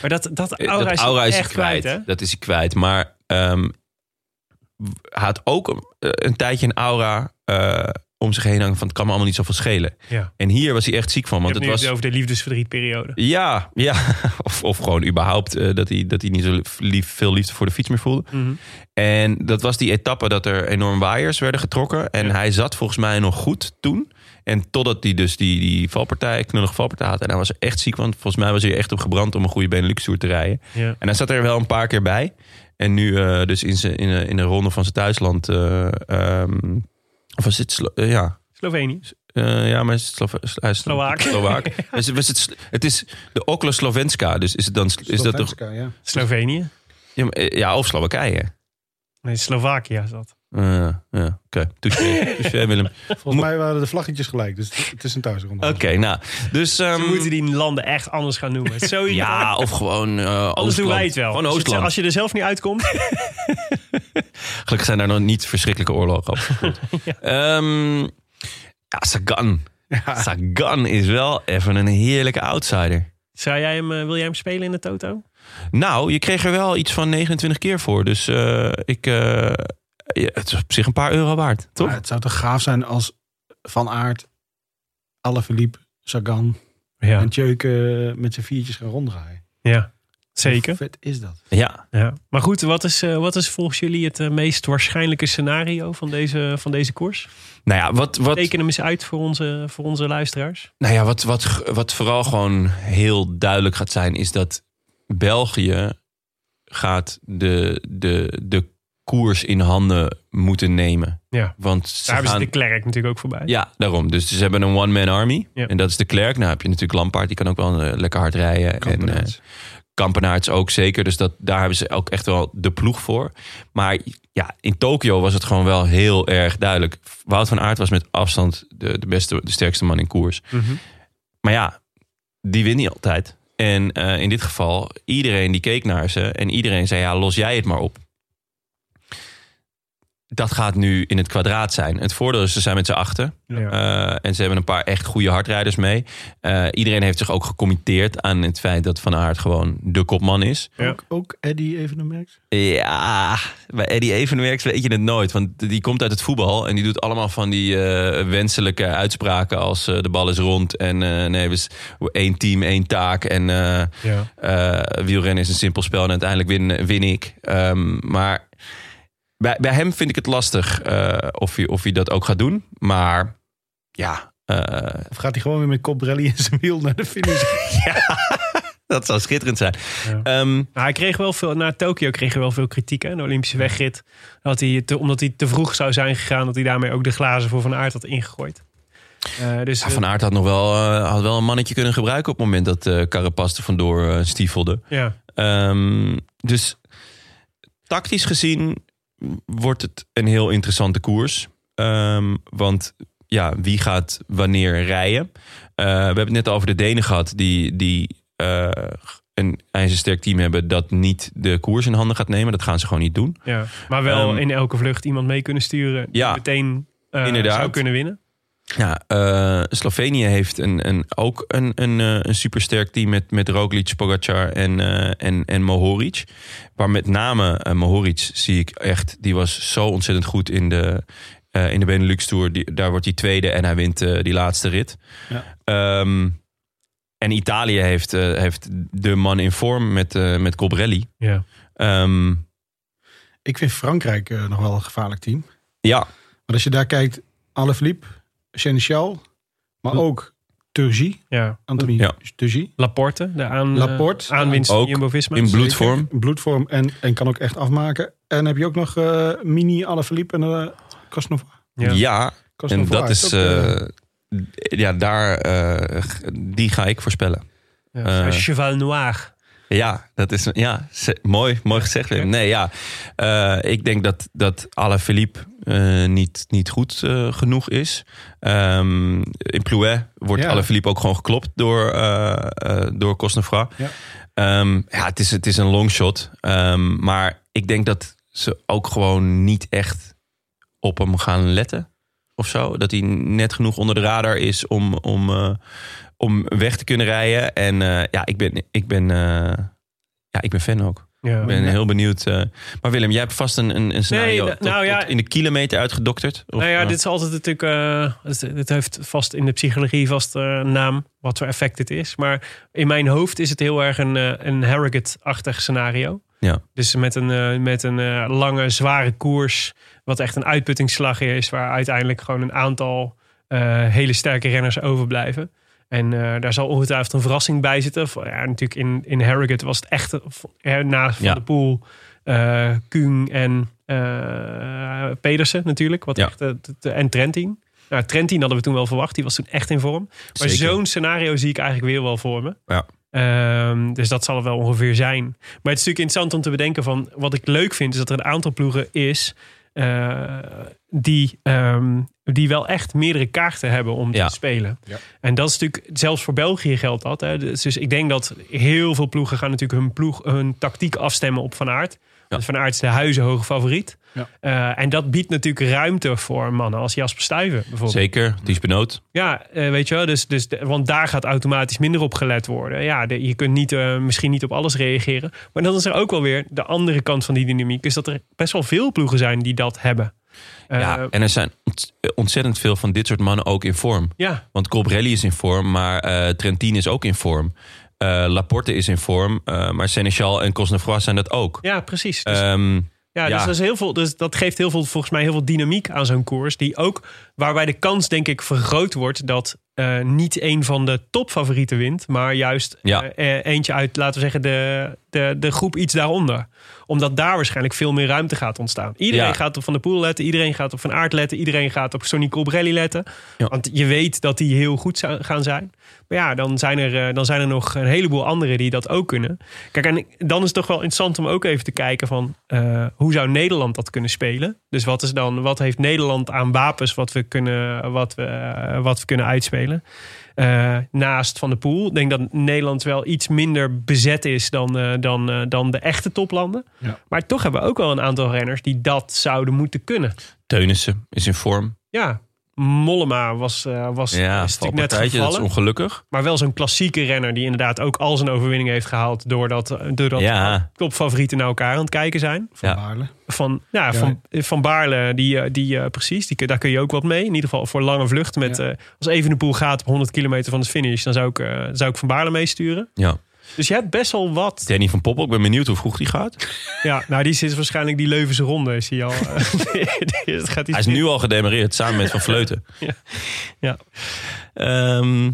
Maar dat, dat
Eh,
aura
dat
is,
aura is hij
echt kwijt.
kwijt.
hè?
dat is hij kwijt. Maar ehm hij had ook een, eh, een tijdje een aura eh, om zich heen hangen van het kan me allemaal niet zoveel schelen.
Ja.
En hier was hij echt ziek van.
Want
Want het
het nu
was.
het over de liefdesverdrietperiode.
Ja, ja. [LAUGHS] Of, of gewoon überhaupt eh, dat, hij, dat hij niet zo lief, veel liefde voor de fiets meer voelde.
Mhm.
En dat was die etappe dat er enorm waaiers werden getrokken. En hij zat volgens mij nog goed toen. En totdat hij dus die, die valpartij, knullige valpartij had. En hij was er echt ziek, want volgens mij was hij er echt op gebrand om een goede Benelux Tour te rijden.
Ja.
En hij zat er wel een paar keer bij. En nu eh, dus in, zijn, in, eh, in de ronde van zijn thuisland. eh, ehm, of was het... Slo- eh, ja.
Slovenië.
Eh, ja, maar is het Slova- hij is
Slowaak. [LAUGHS]
Slowaak. Dus was het, sl- het is de Okla Slovenska. Dus is het dan... Is dat toch,
Slovenska, ja.
Slovenië.
ja, maar, eh, ja, of Slowakije.
Nee, Slovakia is dat.
Eh, ja, oké.
[LAUGHS]
Touché, touché, Willem.
Volgens mij waren de vlaggetjes gelijk, dus het is een thuisronde.
Oké, nou. Dus... ehm,
Ze moeten die landen echt anders gaan noemen. Het is zo
[LAUGHS] ja, of gewoon eh
Anders doen
Oostland.
wij het wel.
Gewoon
Als je het-
Oostland.
Als je er zelf niet uitkomt. [LAUGHS]
Gelukkig zijn daar nog niet verschrikkelijke oorlogen op
[LAUGHS]
gevoerd. Ehm, ja, Sagan. Sagan is wel even een heerlijke outsider.
Zou jij hem, eh, wil jij hem spelen in de Toto?
Nou, je kreeg er wel iets van 29 keer voor. Dus eh, ik, eh, ja, het is op zich een paar euro waard, toch?
Maar het zou toch gaaf zijn als Van Aert, Alaphilippe, Sagan
Ja.
en Tjeuken met zijn viertjes gaan ronddraaien.
ja. Zeker.
Hoe vet is dat?
Ja.
Ja. Maar goed, wat is, eh, wat is volgens jullie het eh, meest waarschijnlijke scenario van deze, van deze koers?
Nou ja, wat, wat,
Teken hem eens uit voor onze, voor onze luisteraars.
nou ja wat, wat, wat vooral gewoon heel duidelijk gaat zijn... is dat België gaat de, de, de koers in handen moeten nemen.
Ja.
Want ze
Daar hebben
gaan-
ze de klerk natuurlijk ook voorbij.
Ja, daarom. Dus ze hebben een one-man army.
Ja.
En dat is de Klerk. Nou heb je natuurlijk Lampaard, die kan ook wel eh, lekker hard rijden. En eh
Kampenaerts.
Kampenaerts ook zeker. Dus dat, daar hebben ze ook echt wel de ploeg voor. Maar ja, in Tokio was het gewoon wel heel erg duidelijk. Wout van Aert was met afstand de, de beste, de sterkste man in koers. Maar ja, die wint niet altijd. En eh, in dit geval, iedereen die keek naar ze en iedereen zei: ja, los jij het maar op. Dat gaat nu in het kwadraat zijn. Het voordeel is, ze zijn met z'n achten. Eh, en ze hebben een paar echt goede hardrijders mee. Eh, iedereen heeft zich ook gecommitteerd aan het feit dat Van Aert gewoon de kopman is.
Ook, ook Eddie Evenemerks?
Ja, bij Eddie Evenwerks weet je het nooit. Want die komt uit het voetbal en die doet allemaal van die eh, wenselijke uitspraken als eh, de bal is rond en eh, nee, we is één team, één taak en eh,
Ja.
eh, wielrennen is een simpel spel en uiteindelijk win, win ik. Ehm, maar bij, bij hem vind ik het lastig eh, of, hij, of hij dat ook gaat doen. Maar ja, eh,
Of gaat hij gewoon weer met koprally in zijn wiel naar de finish?
dat zou schitterend zijn.
Ja.
Ehm,
[LAUGHS] Nou, hij kreeg wel veel, na Tokio kreeg hij wel veel kritiek hè, de Olympische wegrit. Dat hij te, omdat hij te vroeg zou zijn gegaan, dat hij daarmee ook de glazen voor Van Aert had ingegooid. Eh, dus
Ja, van Aert had nog wel, eh, had wel een mannetje kunnen gebruiken op het moment dat eh Carapaz er vandoor eh, stiefelde.
ja.
Ehm, dus tactisch gezien wordt het een heel interessante koers. Ehm, want ja, wie gaat wanneer rijden? Eh, we hebben het net over de Denen gehad die, die eh, een ijzersterk team hebben dat niet de koers in handen gaat nemen. Dat gaan ze gewoon niet doen.
Ja, maar wel
Ehm,
in elke vlucht iemand mee kunnen sturen. Die
Ja,
meteen eh,
inderdaad.
zou kunnen winnen.
Ja, eh, Slovenië heeft een, een, ook een, een, eh, een supersterk team met, met Roglic, Pogacar en, eh, en, en Mohoric. Maar met name eh, Mohoric zie ik echt, die was zo ontzettend goed in de, eh, in de Benelux Tour. Die, daar wordt hij tweede en hij wint eh, die laatste rit. Ehm, en Italië heeft, eh, heeft de man in vorm met, eh met Colbrelli.
Ja.
Ehm,
Ik vind Frankrijk eh, nog wel een gevaarlijk team.
ja,
Maar als je daar kijkt, Alaphilippe, Senechal, maar ook Turgie,
ja.
Anthony
Ja.
Turgie.
Laporte, de aan, eh,
Laporte.
aanwinst
Ook
van Jumbo-Visma.
in bloedvorm.
Zeker, bloedvorm en, en kan ook echt afmaken. En heb je ook nog eh, mini Alaphilippe en eh Cosnov.
Ja.
ja, En
Cosnefroid
dat is.
ook, eh,
eh, d- ja, daar. eh, g- die ga ik voorspellen.
Ja.
Eh.
Cheval Noir.
Ja, dat is. Ja, ze- mooi, mooi gezegd, Wim. Nee, ja. eh, ik denk dat, dat Alaphilippe eh niet, niet goed eh, genoeg is. Ehm, in Plouet wordt
Ja.
Alaphilippe ook gewoon geklopt door, eh eh door Cosnefra.
Ja.
Ehm, ja, het is, het is een longshot. Ehm, maar ik denk dat ze ook gewoon niet echt op hem gaan letten. Of zo. Dat hij net genoeg onder de radar is om, om, eh, om weg te kunnen rijden. En eh, ja, ik ben, ik, ben, eh, ja, ik ben fan ook.
Ja.
Ik ben heel benieuwd. eh. maar Willem, jij hebt vast een, een, een scenario
Nee,
tot-
nou ja.
tot in de kilometer uitgedokterd. Of,
nou ja,
eh,
dit is altijd natuurlijk. eh, het, het heeft vast in de psychologie vast eh, een naam. Wat voor effect dit is. Maar in mijn hoofd is het heel erg een, eh, een Harrogate-achtig scenario.
Ja.
Dus met een, eh, met een eh, lange, zware koers. Wat echt een uitputtingsslag is. Waar uiteindelijk gewoon een aantal eh, hele sterke renners overblijven. En eh, daar zal ongetwijfeld een verrassing bij zitten. Voor- Ja, natuurlijk in, in Harrogate was het echt eh, v- eh, na Van
Ja.
de Poel, eh Kung en eh, Pedersen natuurlijk. Wat
Ja.
echt, eh, t- t- en Trentin. Nou, Trentin hadden we toen wel verwacht. Die was toen echt in vorm. Maar
Zeker.
zo'n scenario zie ik eigenlijk weer wel voor me.
Ja.
Ehm, dus dat zal het wel ongeveer zijn. Maar het is natuurlijk interessant om te bedenken van... wat ik leuk vind is dat er een aantal ploegen is... eh, die, ehm, die wel echt meerdere kaarten hebben om
Ja.
te spelen.
Ja.
En dat is natuurlijk, zelfs voor België geldt dat. Hè. Dus dus ik denk dat heel veel ploegen gaan natuurlijk hun, ploeg, hun tactiek afstemmen op Van Aert. Want Van Aert is de huizenhoge favoriet.
Ja.
Eh, en dat biedt natuurlijk ruimte voor mannen als Jasper Stuyven bijvoorbeeld.
Zeker, die is benoot.
Ja, eh, weet je wel. Dus, dus, de- want daar gaat automatisch minder op gelet worden. Ja, de- je kunt niet, eh, misschien niet op alles reageren. Maar dan is er ook wel weer de andere kant van die dynamiek. Is dat er best wel veel ploegen zijn die dat hebben. Eh,
ja, en er zijn ont- eh, ontzettend veel van dit soort mannen ook in vorm.
ja,
Want Colbrelli is in vorm, maar eh, Trentin is ook in vorm. Eh, Laporte is in vorm, eh, maar Seneschal en Cosnefroid zijn dat ook.
ja, precies. Dus,
Ehm,
ja, dus,
ja.
dat is heel veel, dus dat geeft heel veel, volgens mij heel veel dynamiek aan zo'n koers. Die ook, waarbij de kans denk ik vergroot wordt dat eh, niet een van de topfavorieten wint. Maar juist
Ja.
eh, eh, eentje uit, laten we zeggen, de, de, de groep iets daaronder. Omdat daar waarschijnlijk veel meer ruimte gaat ontstaan. Iedereen
Ja.
gaat op Van der Poel letten. Iedereen gaat op Van Aert letten. Iedereen gaat op Sonny Colbrelli letten.
Ja.
Want je weet dat die heel goed zou- gaan zijn. Maar ja, dan zijn, er, eh, dan zijn er nog een heleboel anderen die dat ook kunnen. Kijk, en dan is het toch wel interessant om ook even te kijken van... eh, hoe zou Nederland dat kunnen spelen? Dus wat, is dan, wat heeft Nederland aan wapens wat we kunnen, wat we, eh, wat we kunnen uitspelen? Eh, naast Van der Poel. Ik denk dat Nederland wel iets minder bezet is dan, eh, dan, eh, dan de echte toplanden.
Ja.
Maar toch hebben we ook wel een aantal renners die dat zouden moeten kunnen.
Teunissen is in vorm.
Ja, Mollema was, eh, was
Ja,
is natuurlijk net
valpartijtje, dat is
gevallen.
ongelukkig.
Maar wel zo'n klassieke renner die inderdaad ook al zijn overwinning heeft gehaald... doordat, doordat
Ja.
topfavorieten naar elkaar aan het kijken zijn.
Van
Ja.
Baarle.
Van, ja,
Ja.
van, van Baarle, die, eh, die, eh, precies, die, kun- daar kun je ook wat mee. In ieder geval voor lange vluchten. Met,
Ja.
eh, als Evenepoel gaat op 100 kilometer van de finish... dan zou ik, eh, zou ik Van Baarle meesturen.
Ja.
Dus je hebt best wel wat.
Danny van Poppel, ik ben benieuwd hoe vroeg die gaat.
Ja, nou, die zit waarschijnlijk die Leuvense ronde. Is hij al. eh, die- dat gaat
Hij is nu al
[LAUGHS]
gedemareerd samen met Van Vleuten.
Ja. Ja.
Ehm,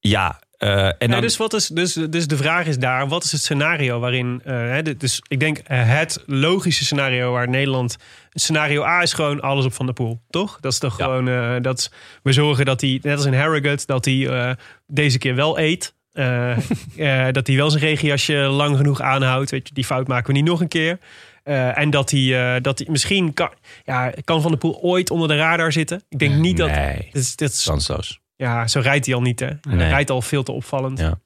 ja, eh, Eh, en
Nee,
dan,
dus, wat is, dus, dus de vraag is daar, wat is het scenario waarin... eh, hè, dit- dus ik denk eh, het logische scenario waar Nederland... Scenario A is gewoon alles op Van der Poel, toch? Dat is toch
Ja.
gewoon... eh, dat is- we zorgen dat hij, net als in Harrogate, dat hij eh, deze keer wel eet.
[LAUGHS]
Eh, eh, dat hij wel zijn regenjasje lang genoeg aanhoudt. Weet je, die fout maken we niet nog een keer. Eh, en dat hij, eh, dat hij misschien... Kan, ja, kan Van der Poel ooit onder de radar zitten? Ik denk niet dat...
Nee,
Dit is, dit is-
kansloos.
ja, zo rijdt hij al niet, hè?
Nee.
Hij rijdt al veel te opvallend.
Ja.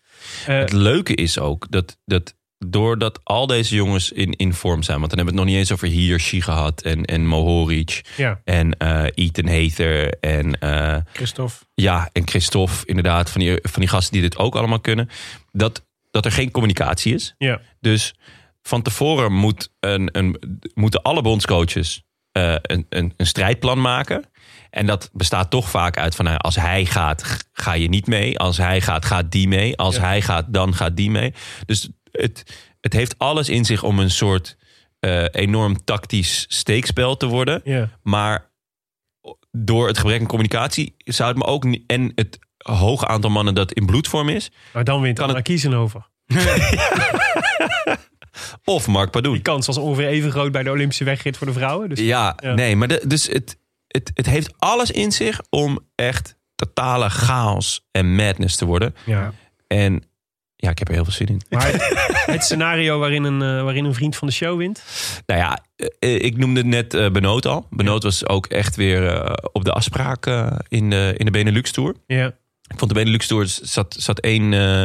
Eh,
Het leuke is ook dat, dat doordat al deze jongens in, in vorm zijn... want dan hebben we het nog niet eens over Hirschi gehad... en, en Mohoric
Ja.
en eh Ethan Hater en... eh,
Christophe.
Ja, en Christophe, inderdaad, van die, van die gasten die dit ook allemaal kunnen. Dat, dat er geen communicatie is.
Ja.
Dus van tevoren moet een, een, moeten alle bondscoaches eh, een, een, een strijdplan maken. En dat bestaat toch vaak uit van nou, als hij gaat, g- ga je niet mee. Als hij gaat, gaat die mee. Als hij gaat, dan gaat die mee. Dus het, het heeft alles in zich om een soort eh, enorm tactisch steekspel te worden.
Ja.
Maar door het gebrek aan communicatie zou het me ook niet. En het hoge aantal mannen dat in bloedvorm is.
Maar dan wint
Kan
Anna Kiezenhoven.
Of Mark
Die
Padoen.
kans was ongeveer even groot bij de Olympische wegrit voor de vrouwen. Dus
Ja,
Ja.
nee, maar de- dus het, het, het heeft alles in zich om echt totale chaos en madness te worden.
ja.
En ja, ik heb er heel veel zin in.
Maar [LAUGHS] het, het scenario waarin een, eh, waarin een vriend van de show wint.
Nou ja, eh, ik noemde net eh, Benoot al. Benoot was ook echt weer eh, op de afspraak eh, in, de, in de Benelux Tour.
Ja.
Ik vond de Benelux Tour zat, zat één eh,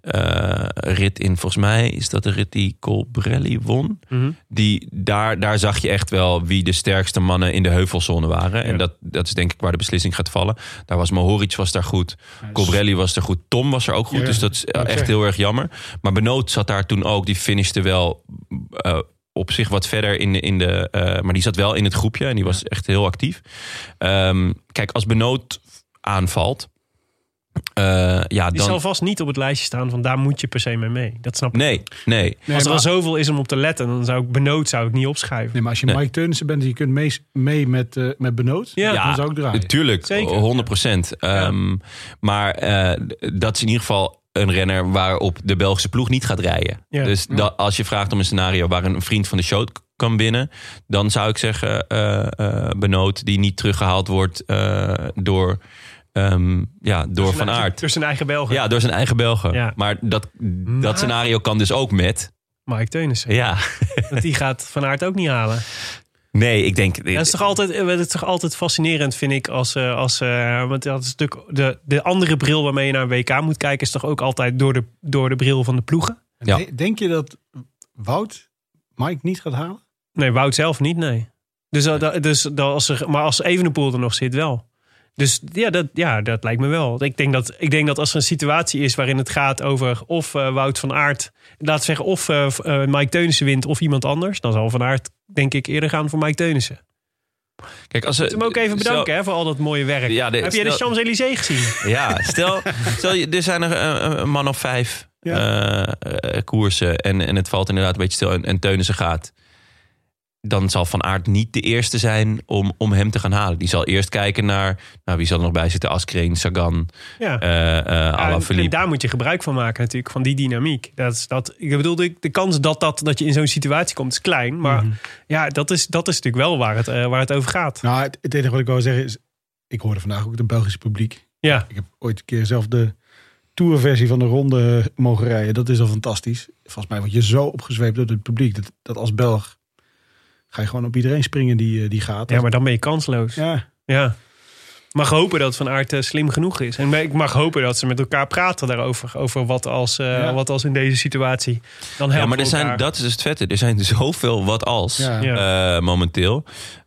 eh, rit in. Volgens mij is dat de rit die Colbrelli won.
Mhm.
Die, daar, daar zag je echt wel wie de sterkste mannen in de heuvelzone waren.
Ja.
En dat, dat is denk ik waar de beslissing gaat vallen. Daar was Mohoric was daar goed. Colbrelli was er goed. Tom was er ook goed.
dus-
dus
Ja,
dat is
wou ik
echt
zeggen.
heel erg jammer. Maar Benoot zat daar toen ook. Die finishte wel eh, op zich wat verder in de... In de eh, maar die zat wel in het groepje. En die was echt heel actief. Ehm, kijk, als Benoot aanvalt... eh, ja,
Die
dan...
zal vast niet op het lijstje staan van daar moet je per se mee mee. Dat snap ik.
Nee, nee.
Als er
maar-
al zoveel is om op te letten, dan zou ik benood zou ik niet opschuiven.
Nee, maar als je
Nee.
Mike Teunissen bent en je kunt mee, mee met, eh, met Benoot,
Ah, Ja.
dan zou ik draaien.
Natuurlijk,
Zeker.
100 procent. Ehm, Maar eh, dat is in ieder geval een renner waarop de Belgische ploeg niet gaat rijden.
Ja.
Dus dat, als je vraagt om een scenario waar een vriend van de show k- kan winnen, dan zou ik zeggen eh eh, Benoot die niet teruggehaald wordt eh, door, ehm, ja, door Van Aert.
Tussen eigen Belgen.
Ja, door zijn eigen Belgen.
Ja.
Maar dat, dat scenario kan dus ook met.
Mike [LAUGHS] Teunissen.
Ja. [LAUGHS]
Want die gaat Van Aert ook niet halen.
Nee, ik denk.
Ja, het, is toch altijd, eh, het is toch altijd fascinerend, vind ik. Als, eh, als, eh, want dat is natuurlijk de, de andere bril waarmee je naar een WK moet kijken, is toch ook altijd door de, door de bril van de ploegen?
Ja.
De- Denk je dat Wout Mike niet gaat halen?
Nee, Wout zelf niet, nee. Dus, dat- dat- dus dat als er, maar als Evenepoel er nog zit, wel. Dus ja dat, ja, dat lijkt me wel. Ik denk, dat, ik denk dat als er een situatie is waarin het gaat over of eh, Wout van Aert, laat zeggen, of eh, v- eh, Mike Teunissen wint of iemand anders, dan zal Van Aert denk ik eerder gaan voor Mike Teunissen.
Kijk, als
Moet hem ook even bedanken hè, voor al dat mooie werk.
Ja, de-
Heb jij de
stel-
Champs-Élysées gezien?
Ja, stel, stel je- er zijn er eh, een man of vijf eh, eh, koersen en, en het valt inderdaad een beetje stil en, en Teunissen gaat. Dan zal Van Aert niet de eerste zijn om, om hem te gaan halen. Die zal eerst kijken naar nou, wie zal er nog bij zitten. Askreen, Sagan,
Ja.
eh eh
Ja, en- en
Alaphilippe.
daar moet je gebruik van maken natuurlijk, van die dynamiek. Dat is, dat, ik bedoel, de, de kans dat, dat, dat je in zo'n situatie komt is klein. Maar
Mhm.
ja, dat is, dat is natuurlijk wel waar het, eh, waar het over gaat.
Nou, het, het enige wat ik wou zeggen is, ik hoorde vandaag ook het Belgische publiek.
Ja,
Ik heb ooit een keer zelf de tourversie van de ronde eh, mogen rijden. Dat is al fantastisch. Volgens mij word je zo opgezweept door het publiek, dat, dat als Belg ga je gewoon op iedereen springen die, eh, die gaat.
ja maar dan ben je kansloos. Ja.
Ja.
Mag hopen dat Van Aert eh, slim genoeg is. En ik mag hopen dat ze met elkaar praten daarover. Over wat als, eh,
Ja.
wat als in deze situatie. Dan
Ja,
helpen
maar
we
er zijn,
elkaar.
dat is dus het vette. Er zijn zoveel wat als
Ja.
Ja.
eh, momenteel.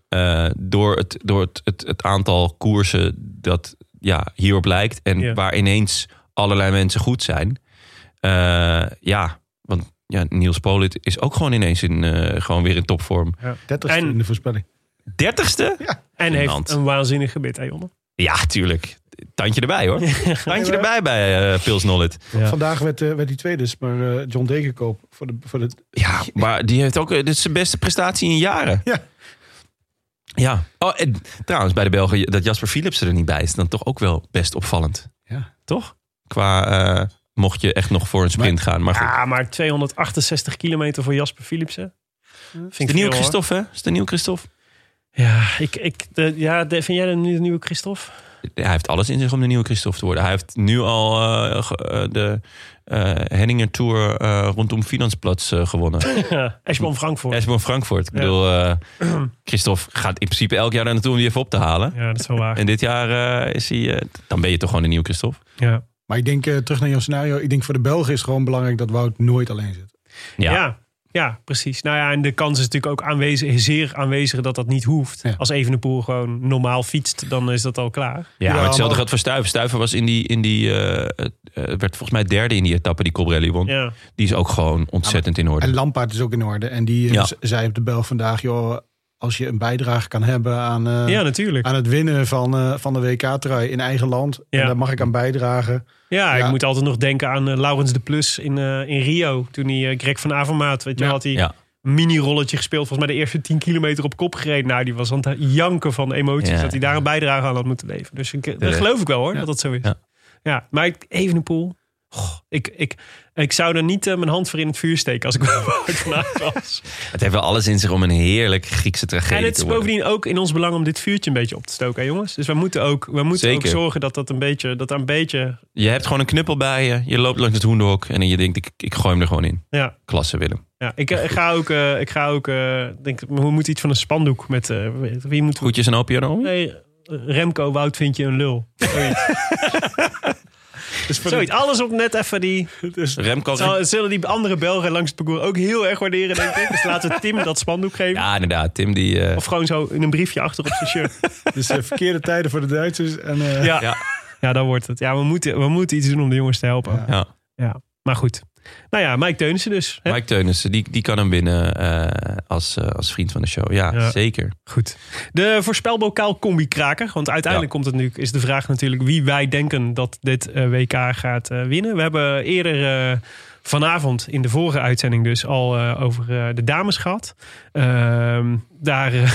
Eh, door het, door het, het, het aantal koersen dat ja, hierop lijkt. En
Ja.
waar ineens allerlei mensen goed zijn. Eh, ja, want ja, Niels Polit is ook gewoon ineens in, eh, gewoon weer in topvorm.
30
En-
in de voorspelling.
Dertigste?
En
Gênant.
heeft een waanzinnig gebit, hè Jonne?
Ja, tuurlijk. Tandje erbij
[LAUGHS]
hoor. Tandje erbij bij eh Pils Nollet.
Ja.
Vandaag werd, eh, werd die tweede, dus maar eh, John Degenkoop voor de, voor de
Ja, maar die heeft ook. eh, Dit is zijn beste prestatie in jaren.
Ja.
Ja. Oh, en trouwens, bij de Belgen dat Jasper Philips er niet bij is, dan toch ook wel best opvallend.
Ja.
Toch? Qua eh, mocht je echt nog voor een sprint gaan. Maar goed.
Ja, maar Ah, 268 kilometer voor Jasper Philipsen. Vind
is
ik
de nieuwe
veel, hoor.
Christophe, hè? Is de nieuwe Christophe?
Ja, ik, ik, de, ja de, vind jij hem nu de nieuwe Christophe?
Hij heeft alles in zich om de nieuwe Christophe te worden. Hij heeft nu al eh, ge- eh, de eh, Henninger Tour eh, rondom Finansplatz eh, gewonnen.
Ashbon Frankfurt.
Esbon Frankfurt. Ik bedoel, eh, Christophe gaat in principe elk jaar daar naartoe om die even op te halen.
Ja, dat is wel waar.
En dit jaar eh, is hij... eh, dan ben je toch gewoon de nieuwe Christophe?
Ja.
Maar ik denk, eh, terug naar jouw scenario, ik denk voor de Belgen is het gewoon belangrijk dat Wout nooit alleen zit.
Ja. ja. precies. Nou ja, en de kans is natuurlijk ook aanwezig, zeer aanwezig dat dat niet hoeft.
Ja.
Als Evenepoel gewoon normaal fietst, dan is dat al klaar.
Ja, maar
Ja,
hetzelfde
maar-
geldt voor Stuiven. Stuiven was in die, in die eh, eh, werd volgens mij derde in die etappe die Colbrelli won.
Ja,
Die is ook gewoon ontzettend in orde.
En Lampaard is ook in orde. En die eh,
Ja.
z- zei op de Belg vandaag, joh, als je een bijdrage kan hebben aan, eh,
ja natuurlijk.
[LAUGHS] aan het winnen van, eh, van de WK-trui in eigen land.
Ja.
En daar mag ik aan bijdragen.
Ja,
Ja.
ik moet altijd nog denken aan eh, Laurens de Plus in, eh, in Rio. Toen hij eh, Greg van Avermaat, weet je
Ja.
wel, had hij
Ja.
een mini-rolletje gespeeld. Volgens mij de eerste 10 kilometer op kop gereden. Nou, die was aan het janken van emoties.
Ja.
Dat hij daar een bijdrage aan had moeten leveren. Dus ik, dat
Terecht.
geloof ik wel hoor,
Ja.
dat dat zo is. Ja,
Ja.
maar ik, even een poel. Ik, ik, ik zou daar niet eh, mijn hand voor in het vuur steken als ik [LAUGHS] Wout van Aert was.
Het heeft wel alles in zich om een heerlijk Griekse tragedie
En het is
te worden.
bovendien ook in ons belang om dit vuurtje een beetje op te stoken, hè, jongens. Dus we moeten ook, we moeten ook
Zeker.
zorgen dat dat een beetje, dat daar een beetje,
Je hebt gewoon een knuppel bij je. Je loopt langs het hoenderhok en je denkt, ik, ik gooi hem er gewoon in.
ja,
Klasse, Willem.
Ja, ik, eh, ga ook, eh, ik ga ook eh, denk, we moeten iets van een spandoek met, eh, wie moet
Groetjes en opio erom.
Nee, Remco Wout vind je een lul. Zoiets.
[LAUGHS] Dus voor
Zoiets,
de,
alles op net even die,
[LAUGHS] dus
Remco.
zal- zullen die andere Belgen langs het parcours ook heel erg waarderen denk ik. Dus laten we Tim dat spandoek geven.
Ja, inderdaad. Tim die... eh,
Of gewoon zo in een briefje achter op zijn shirt.
dus eh, verkeerde tijden voor de Duitsers. En,
[LAUGHS]
eh,
Ja, ja.
Ja.
daar wordt het. Ja, we moeten, we moeten iets doen om de jongens te helpen. Ja.
Ja.
ja.
Maar goed. Nou ja, Mike Teunissen dus. hè?
Mike Teunissen, die, die kan hem winnen eh, als, eh, als vriend van de show. Ja,
Ja.
zeker.
Goed. De voorspelbokaal combi-kraker. Want uiteindelijk komt het nu, is de vraag natuurlijk wie wij denken dat dit eh, WK gaat eh, winnen. We hebben eerder eh, vanavond in de vorige uitzending dus al eh, over eh, de dames gehad. Ehm, daar [LAUGHS] eh,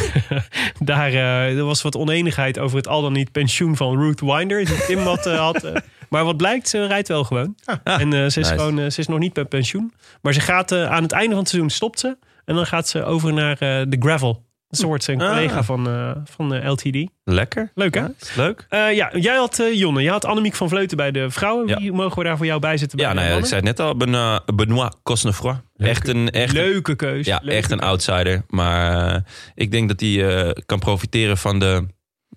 daar eh, er was wat oneenigheid over het al dan niet pensioen van Ruth Winder. Die Tim wat eh, had. eh. maar wat blijkt, ze rijdt wel gewoon. en eh, ze, is
nice.
gewoon, eh, ze is nog niet bij pensioen. Maar ze gaat eh, aan het einde van het seizoen stopt ze. En dan gaat ze over naar eh, de gravel. Ze wordt een
Ah.
collega van, eh, van eh, LTD.
Lekker.
Leuk hè?
Ja, is leuk.
Eh, ja, jij had eh, Jonne, jij had Annemiek van Vleuten bij de vrouwen.
Ja.
Wie mogen we daar voor jou bij zitten?
Ja,
bij de
nou ja, ik
mannen?
zei het net al. Benoit, Benoit Cosnefroy. Echt een, echt een
Leuke keuze.
Ja,
leuke
echt een
keuze.
outsider. Maar eh, ik denk dat hij eh, kan profiteren van de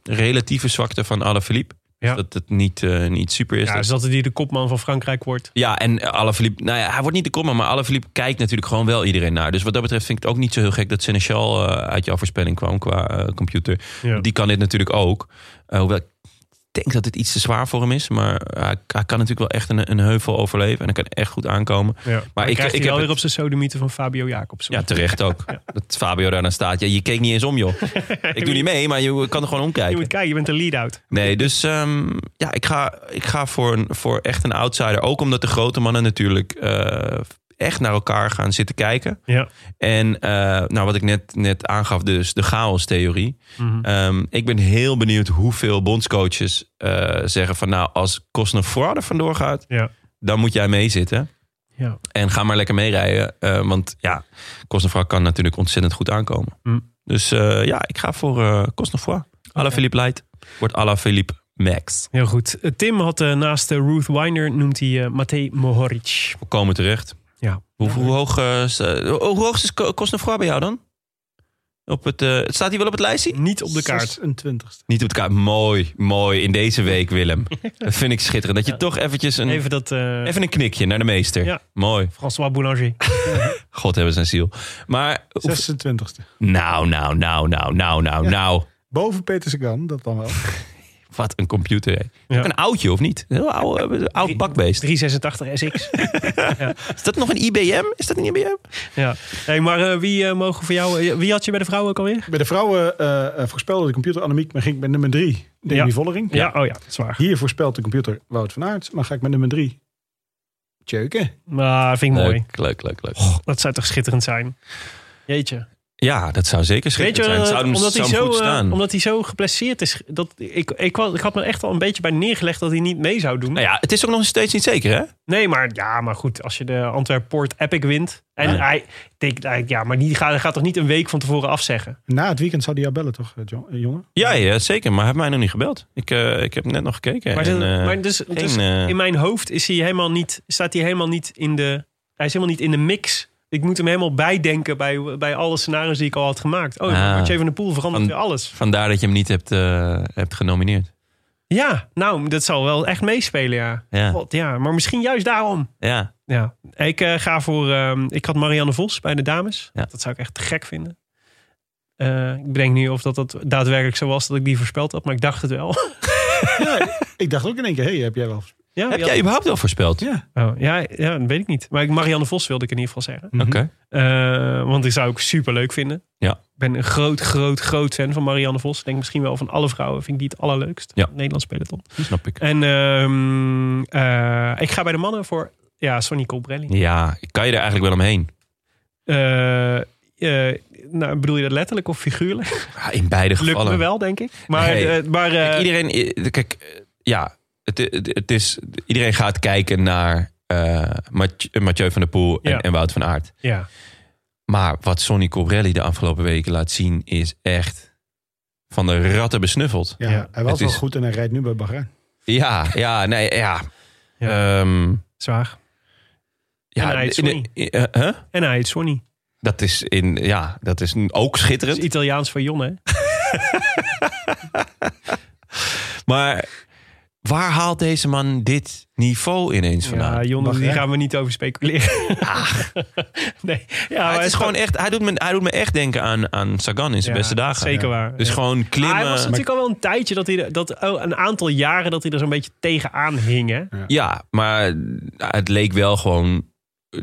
relatieve zwakte van Alaphilippe.
Ja.
Dat het niet, eh, niet super is.
Ja, dus dat hij de kopman van Frankrijk wordt.
Ja, en Alaphilippe, nou ja, hij wordt niet de komma, maar Alaphilippe kijkt natuurlijk gewoon wel iedereen naar. Dus wat dat betreft vind ik het ook niet zo heel gek dat Seneschal eh, uit jouw voorspelling kwam qua eh, computer.
Ja.
Die kan dit natuurlijk ook. Eh, hoewel ik denk dat het iets te zwaar voor hem is, maar hij, hij kan natuurlijk wel echt een, een heuvel overleven en hij kan echt goed aankomen.
Ja. Maar
ik-
ik,
ik
krijgt hij
heb
wel weer
het-
op zijn sodemieten van Fabio Jacobs.
Ja, terecht
[LAUGHS]
ook. Dat Fabio daarna staat. Ja, je keek niet eens om, joh. Ik doe niet mee, maar je kan er gewoon
je
omkijken.
moet kijken, je bent een lead-out.
Nee, dus ehm, ja, ik ga, ik ga voor, een, voor echt een outsider. Ook omdat de grote mannen natuurlijk eh, echt naar elkaar gaan zitten kijken.
Ja.
En eh, nou, wat ik net, net aangaf, dus de chaos-theorie.
Mhm.
Ehm, ik ben heel benieuwd hoeveel bondscoaches eh, zeggen van... nou, als Cosnefroid er vandoor gaat,
Ja.
dan moet jij meezitten.
Ja.
En ga maar lekker meerijden. eh, want ja, Cosnefroid kan natuurlijk ontzettend goed aankomen.
Mm.
Dus eh, ja, ik ga voor eh Cosnefroid. Ala Philippe Leidt wordt Ala Philippe Max.
Heel goed. Eh, Tim had eh, naast eh, Ruth Winder noemt hij eh, Matej Mohoric.
Volkomen terecht.
Ja.
Hoe, hoe, hoog, eh, is, eh, hoe hoe hoog is Co- Cosnefroid bij jou dan? Op het, eh, staat hij wel op het lijstje?
Niet op de kaart.
26e.
Niet op de kaart. Mooi, mooi. In deze week,
[LAUGHS]
Willem. Dat vind ik schitterend. Dat je toch eventjes een, even,
Even dat eh,
een knikje naar de meester.
Ja.
Mooi.
François
[LAUGHS]
Boulanger.
God hebben zijn ziel. Maar, hoe-
26e.
nou, nou, nou, nou, nou, nou, nou.
Boven Peter Sagan, dat dan wel.
Wat een computer. hè.
Ja.
Ook Een oudje, of niet? Een heel oude, eh, oud bakbeest.
386 SX.
Is dat nog een IBM? Is dat een IBM?
ja. Hey, maar eh, wie eh, mogen voor jou... eh, wie had je bij de vrouwen ook alweer?
Bij de vrouwen eh, eh, voorspelde de computer Annemiek, maar ging ik met nummer 3, Demi
Ja.
Vollering.
oh ja, zwaar.
Hier voorspelt de computer Wout van Aert, maar ga ik met nummer 3. Tjeuken.
Maar Ah, vind ik mooi.
Leuk, leuk, leuk. leuk.
Dat zou toch schitterend zijn? Jeetje.
Ja, dat zou zeker
Weet je,
schitterend zijn. Het zou hem,
omdat, hij
zou hem
zo,
goed
eh,
staan.
omdat hij zo geblesseerd is. Dat, ik, ik, wa- ik had me echt al een beetje bij neergelegd dat hij niet mee zou doen.
Nou ja, het is ook nog steeds niet zeker, hè?
Nee, maar, ja, maar goed, als je de Antwerp Port Epic wint. En
Ja.
hij, ik denk, eigenlijk, ja, maar die gaat, hij gaat toch niet een week van tevoren afzeggen?
Na het weekend zou die jou bellen, toch, eh, Jo- eh, jongen?
Ja, ja zeker. Maar hij heeft mij nog niet gebeld. Ik, eh, ik heb net nog gekeken.
Maar,
en,
dat-
eh,
maar dus, dus
geen, eh,
in mijn hoofd is hij helemaal niet, staat hij helemaal niet in de... Hij is helemaal niet in de mix. Ik moet hem helemaal bijdenken bij, bij alle scenario's die ik al had gemaakt. Oh,
Ah.
maar Mathieu van de Poel verandert
Van-
weer alles.
Vandaar dat je hem niet hebt, eh, hebt genomineerd.
Ja, nou, dat zal wel echt meespelen, ja.
Ja.
God, ja. Maar misschien juist daarom.
Ja.
Ja, ik eh, ga voor. ehm, ik had Marianne Vos bij de dames.
Ja.
Dat zou ik echt te gek vinden. Eh, ik bedenk niet of dat, dat daadwerkelijk zo was dat ik die voorspeld had, maar ik dacht het wel. [LAUGHS]
Ik dacht ook in één keer, hé, hey, heb jij wel...
ja,
Heb
ja.
jij überhaupt wel voorspeld?
Ja.
Oh, ja, ja, dat weet ik niet. Maar ik- Marianne Vos wilde ik in ieder geval zeggen.
Oké.
Eh, want ik zou ik super leuk vinden.
Ja.
Ik ben een groot, groot, groot fan van Marianne Vos. Ik denk misschien wel van alle vrouwen vind ik die het allerleukst.
Ja.
Nederlands peloton.
Snap ik.
En ehm, eh, ik ga bij de mannen voor ja, Sonny Colbrelli.
Ja, kan je er eigenlijk wel omheen?
Eh, eh, nou, bedoel je dat letterlijk of figuurlijk?
Ja, Ah, in beide
Lukt
gevallen.
me wel, denk ik. Maar,
Nee.
eh, maar eh,
Kijk, iedereen, i- kijk, eh, ja, het, het, het is, iedereen gaat kijken naar eh Mathieu- Mathieu van der Poel en,
Ja.
en Wout van Aert.
ja.
Maar wat Sonny Cobrelli de afgelopen weken laat zien is echt van de ratten besnuffeld.
Ja,
Ja.
hij was
Het
wel
is-
goed en hij rijdt nu bij Bahrein.
Ja, ja, nee, ja.
Ja.
Ehm,
zwaar.
ja,
En hij heet
in de-
Sonny.
in- eh, huh?
En hij heet Sonny.
Dat is in, ja, dat is ook
Dat is
schitterend.
Italiaans voor Jon, hè?
Maar waar haalt deze man dit niveau ineens vandaan?
Ja, Jon,
Mag,
die
hè?
gaan we niet over speculeren. [LAUGHS] nee. Ja, maar
Ah. het is gewoon echt, hij doet me, hij doet me echt denken aan, aan Sagan in zijn
Nou, Ja,
beste dagen.
Zeker waar.
Dus
Ja.
gewoon
Maar
klimmen.
hij was natuurlijk al wel een tijdje, dat hij, er- dat, oh, een aantal jaren dat hij er zo'n beetje tegenaan hing. Hè?
Ja, maar eh, het leek wel gewoon eh,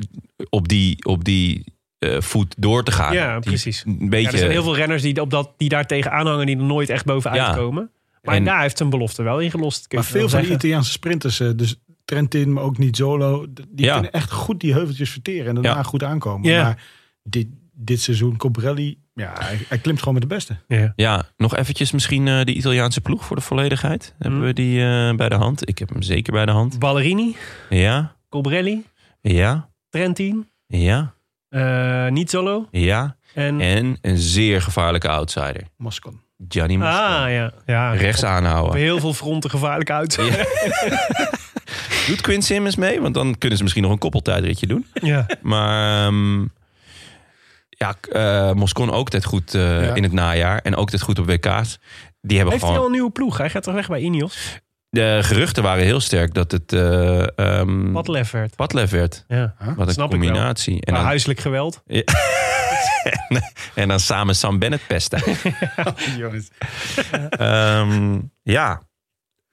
op die, op die eh, voet door te gaan.
Ja,
Die-
precies.
Een
Ja,
beetje,
er zijn heel veel renners die, op dat, die daar tegenaan hangen die er nooit echt bovenuit
Ja.
komen. Maar
En-
daar heeft zijn belofte wel ingelost. kun
Maar
je
veel
wel
van die
zeggen.
Italiaanse sprinters, eh, dus Trentin, maar ook Nizzolo, d- die
Ja.
kunnen echt goed die heuveltjes verteren en daarna
Ja.
goed aankomen.
Ja.
Maar dit, dit seizoen, Cobrelli, ja, hij, hij klimt gewoon met de [LAUGHS] beste.
Ja.
ja, nog eventjes misschien eh, de Italiaanse ploeg voor de volledigheid. Hebben
Hmm.
we die eh, bij de hand? Ik heb hem zeker bij de hand.
Ballerini,
Ja,
Colbrelli,
ja,
Trentin,
ja,
eh Nizzolo
ja.
en...
En een zeer gevaarlijke outsider.
Hm. Moscon.
Gianni Mosca.
ah, ja. ja.
Rechts
Op
aanhouden.
heel veel fronten gevaarlijk uit.
Ja. Doet Quinn Simmons mee? Want dan kunnen ze misschien nog een koppeltijdritje doen.
[LAUGHS] Ja.
Maar ehm, ja, k- eh, Moscon ook dit goed eh,
Ja.
in het najaar. En ook dit goed op WK's. Die hebben
Heeft hij al
gewoon...
een nieuwe ploeg? Hij gaat toch weg bij Ineos?
De geruchten waren heel sterk dat het eh ehm,
Wat lef werd.
Padlef werd.
Ja.
Wat een
Snap ik wel.
combinatie. En
Maar
dan,
huiselijk geweld.
en dan samen Sam Bennett pesten.
[LAUGHS]
Ehm, ja.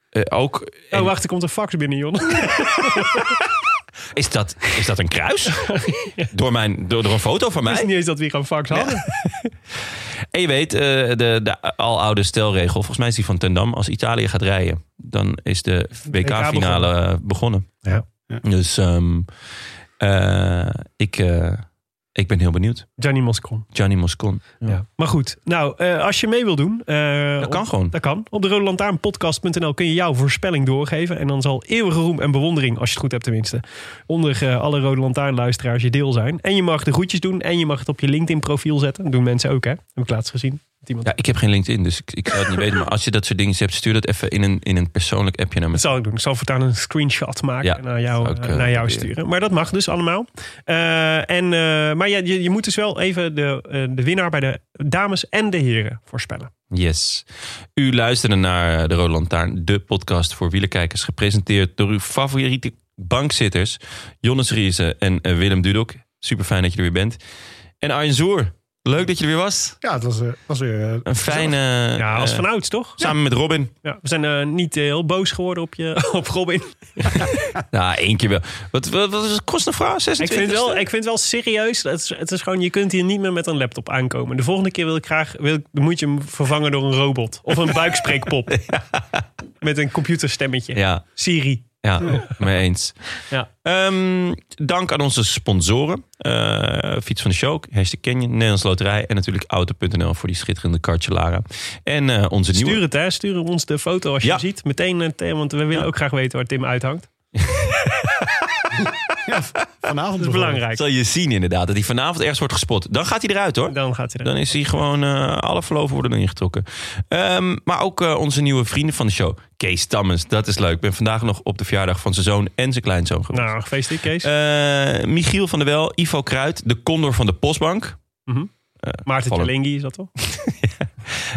Eh, ook, en-
Oh, wacht, er komt een fax binnen, Jon. [LAUGHS]
is, dat, is dat een kruis? door, mijn, door, door een foto van
Ik
mij?
wist niet eens dat we hier een fax hadden.
En je weet, eh, de, de aloude stelregel, volgens mij is die van Ten Dam. Als Italië gaat rijden, dan is de WK-finale begonnen.
Ja.
Ja.
Dus ehm, eh, ik, eh, ik ben heel benieuwd.
Gianni Moscon.
Gianni Moscon.
Ja. Maar goed, nou, eh, als je mee wil doen... eh,
Dat kan
op-
gewoon.
Dat kan. Op de Rode Lantaarnpodcast.nl kun je jouw voorspelling doorgeven. En dan zal eeuwige roem en bewondering, als je het goed hebt tenminste... onder eh, alle Rode Lantaarnluisteraars je deel zijn. En je mag de groetjes doen en je mag het op je LinkedIn-profiel zetten. Dat doen mensen ook, hè? Heb ik laatst gezien. Dat Iemand...
Ja, ik heb geen LinkedIn, dus ik, ik zou het niet weten. Maar als je dat soort dingen hebt, stuur dat even in een, in een persoonlijk appje naar me.
Dat zal ik doen. Ik zal voortaan een screenshot maken
Ja,
en naar jou,
dat zou ik,
eh,
eh,
naar jou
proberen.
sturen. Maar dat mag dus allemaal. Eh, en, eh, maar ja, je, je moet dus wel even de, eh, de winnaar bij de dames en de heren voorspellen.
Yes. U luisterde naar eh, De Rode Lantaarn, de podcast voor wielerkijkers. Gepresenteerd door uw favoriete bankzitters, Jonas Riese en eh, Willem Dudok. Super fijn dat je er weer bent. En Arjen Zoer, leuk dat je er weer was.
Ja, het was, eh, was weer... eh,
Een fijne... eh,
Ja, als
eh,
vanouds, toch?
Samen met Robin.
Ja, we zijn eh, niet eh, heel boos geworden op, je, [LAUGHS] op Robin.
Nou, één keer wel. Wat, wat, wat is het? Kost een vrouw?
Ik
26?
vind, het wel, ik vind het wel serieus. Het is, het is gewoon, je kunt hier niet meer met een laptop aankomen. De volgende keer wil ik graag, wil ik, dan moet je hem vervangen [LAUGHS] door een robot. Of een buikspreekpop. Met een computerstemmetje.
Ja,
Siri.
Ja,
Oh.
mee eens.
Ja.
Ehm, dank aan onze sponsoren. Eh, Fiets van de Show, Hashtag Canyon, Nederlands Loterij... en natuurlijk Auto.nl voor die schitterende kartjelaren. En eh, onze
Stuur
nieuwe...
het, hè? Stuur ons de foto als je
Ja.
hem ziet. Meteen, eh, Tim, want we willen ook graag weten waar Tim uithangt. [LAUGHS]
Vanavond
Dat is belangrijk.
Zal je zien inderdaad, dat hij vanavond ergens wordt gespot. Dan gaat hij eruit hoor.
Dan gaat hij
Dan
er.
is hij gewoon, eh, alle verloven worden erin getrokken. Ehm, maar ook eh, onze nieuwe vrienden van de show, Kees Tammens. Dat is leuk. Ik ben vandaag nog op de verjaardag van zijn zoon en zijn kleinzoon geweest.
Nou, gefeliciteerd, Kees.
Eh, Michiel van der Wel, Ivo Kruid, de condor van de Postbank.
Maarten
vallen.
Tjelingi is dat toch?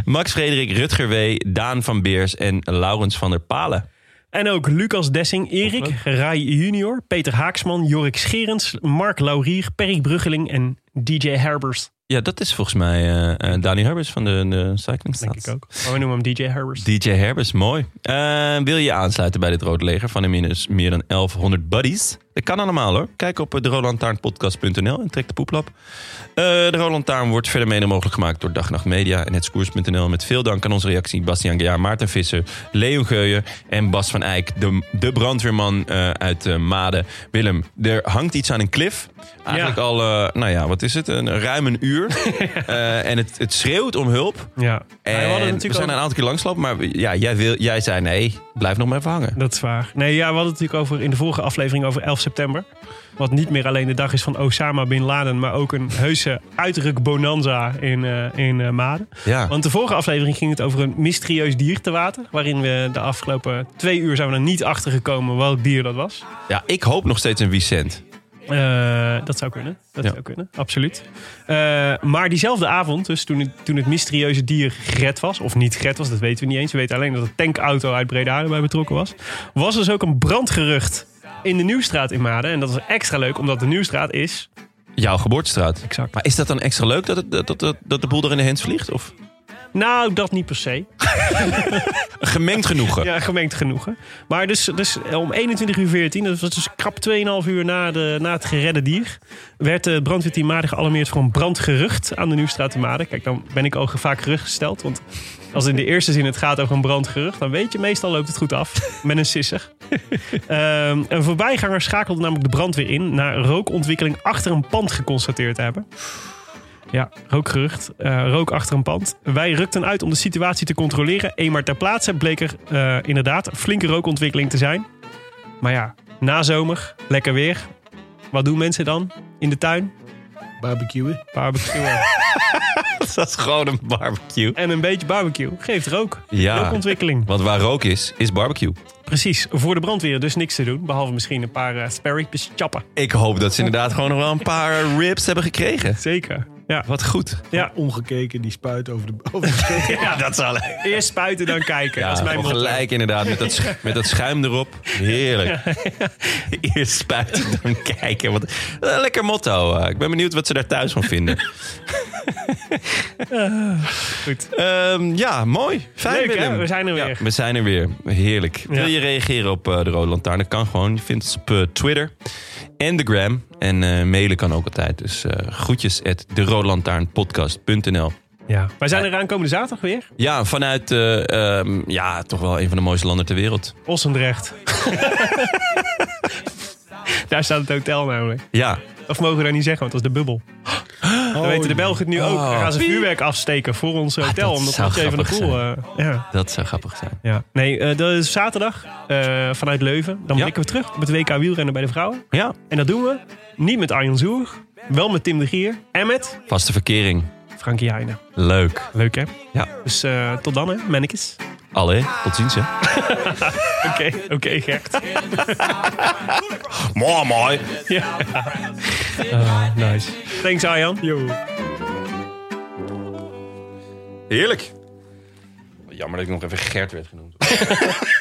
Max Frederik, Rutger W., Daan van Beers en Laurens van der Palen.
En ook Lucas Dessing, Erik, Rai Junior, Peter Haaksman, Jorik Scherens, Mark Laurier, Perik Bruggeling en DJ Herbers.
Ja, dat is volgens mij eh, eh, Dani Herbers van de, de
Denk
Cyclingstaat.
ik ook. Maar we noemen hem DJ Herbers.
DJ Herbers, mooi. Eh, wil je aansluiten bij dit Rode Leger van inmiddels meer dan 1100 buddies? Dat kan allemaal hoor. Kijk op eh, derolantaarnpodcast.nl en trek de poeplap. Eh, de Roland Taarn wordt verder mede mogelijk gemaakt door Dag en Nacht Media en hetskoers.nl. Met veel dank aan onze reactie Bastiaan Gejaar, Maarten Visser, Leon Geuyen en Bas van Eyck. De, de brandweerman eh, uit eh, Maden. Willem, er hangt iets aan een cliff. Eigenlijk
Ja.
al, eh, nou ja, wat is het? Een, ruim een
[LAUGHS]
uur. Eh, en het, het schreeuwt om hulp.
Ja.
En
we hadden
we,
natuurlijk
zijn
ook-
een aantal keer langslopen, maar we- ja, jij, wil, jij zei nee, blijf nog maar even hangen.
Dat is waar. Nee, ja, we hadden het natuurlijk over, in de vorige aflevering over 11 september. Wat niet meer alleen de dag is van Osama Bin Laden, maar ook een heuse uitrukbonanza in, eh, in eh, Maden.
Ja,
Want de vorige aflevering ging het over een mysterieus dier te water. Waarin we de afgelopen twee uur zijn we er niet achter gekomen welk dier dat was.
ja, ik hoop nog steeds een Vicent.
Eh, dat zou kunnen. Dat
Ja.
zou kunnen, absoluut. Eh, maar diezelfde avond, dus toen het, toen het mysterieuze dier gered was, of niet gered was, dat weten we niet eens. We weten alleen dat een tankauto uit Breda erbij betrokken was. Was dus ook een brandgerucht in de Nieuwstraat in Maden. En dat is extra leuk, omdat de Nieuwstraat is.
Jouw geboortestraat.
Exact.
Maar is dat dan extra leuk dat, het- dat, dat, dat, dat de boel er in de hens vliegt? Of
Nou, dat niet per se. [LAUGHS]
gemengd genoegen?
Ja, gemengd genoegen. Maar dus, dus om 21 uur 14, dat was dus krap 2,5 uur na, de, na het geredde dier, werd het brandweerteam Maden gealarmeerd voor een brandgerucht aan de Nieuwstraat in Maden. Kijk, dan ben ik ook vaak gerustgesteld, want als in de eerste zin het gaat over een brandgerucht, dan weet je, meestal loopt het goed af met een sisser. [LAUGHS] Ehm, een voorbijganger schakelde namelijk de brandweer in na rookontwikkeling achter een pand geconstateerd te hebben. Ja, rookgerucht. Eh, rook achter een pand. Wij rukten uit om de situatie te controleren. Eenmaal ter plaatse bleek er eh, inderdaad flinke rookontwikkeling te zijn. Maar ja, na zomer, lekker weer. Wat doen mensen dan in de tuin?
Barbecuen.
[LAUGHS]
Barbecue.
Dat is gewoon een barbecue.
en een beetje barbecue geeft rook.
Ja,
Rookontwikkeling.
want waar rook is, is barbecue.
Precies, voor de brandweer dus niks te doen. Behalve misschien een paar uh, sparrykjes chappen.
Ik hoop dat ze inderdaad gewoon nog wel een paar ribs hebben gekregen.
Zeker.
[LAUGHS]
Ja.
Wat goed.
ja.
Omgekeken, die spuit over de, over de steeg.
ja.
Dat zal
Eerst spuiten, dan kijken.
ja,
dat is mijn
gewoon
motto.
gelijk inderdaad, met dat, sch- met dat schuim erop. Heerlijk. [LAUGHS] Eerst spuiten, dan kijken. Wat, wat een lekker motto. eh. Ik ben benieuwd wat ze daar thuis van
[LAUGHS]
vinden. Eh,
Goed.
Ehm, ja, mooi. Fijn,
Leuk, hè?
Willem.
We zijn er
Ja,
weer.
we zijn er weer. Heerlijk. Wil je reageren op eh, de Rode Lantaarn? Dat kan gewoon. Je vindt ons op eh, Twitter en de Gram. En eh, mailen kan ook altijd. Dus eh groetjes at deroodlantaarnpodcast.nl
Ja. Wij zijn er aankomende zaterdag weer.
Ja, vanuit eh, ehm, ja, toch wel een van de mooiste landen ter wereld. [LAUGHS]
Ossendrecht. daar staat het hotel namelijk.
Ja,
Of mogen we dat niet zeggen, want dat is de bubbel. Dan
Oh.
weten de Belgen het nu ook. Dan gaan ze vuurwerk afsteken voor ons hotel.
Ah, dat
omdat we
zou
even de
grappig
koel... eh, ja.
dat zou grappig zijn.
ja. Nee, eh, dat is zaterdag eh, vanuit Leuven. Dan
Ja.
blikken we terug met WK wielrennen bij de vrouwen.
Ja,
En dat doen we niet met Arjan Zoer. Wel met Tim de Gier. En met
vaste verkering.
Frankie Heijnen.
Leuk.
Leuk hè?
Ja.
Dus eh, tot dan hè, mannetjes.
Allee, tot ziens hè.
Oké, oké Gert.
[LAUGHS] Mooi, mooi. Ah,
nice. Thanks Arjan.
Heerlijk. Jammer dat ik nog even Gert werd genoemd.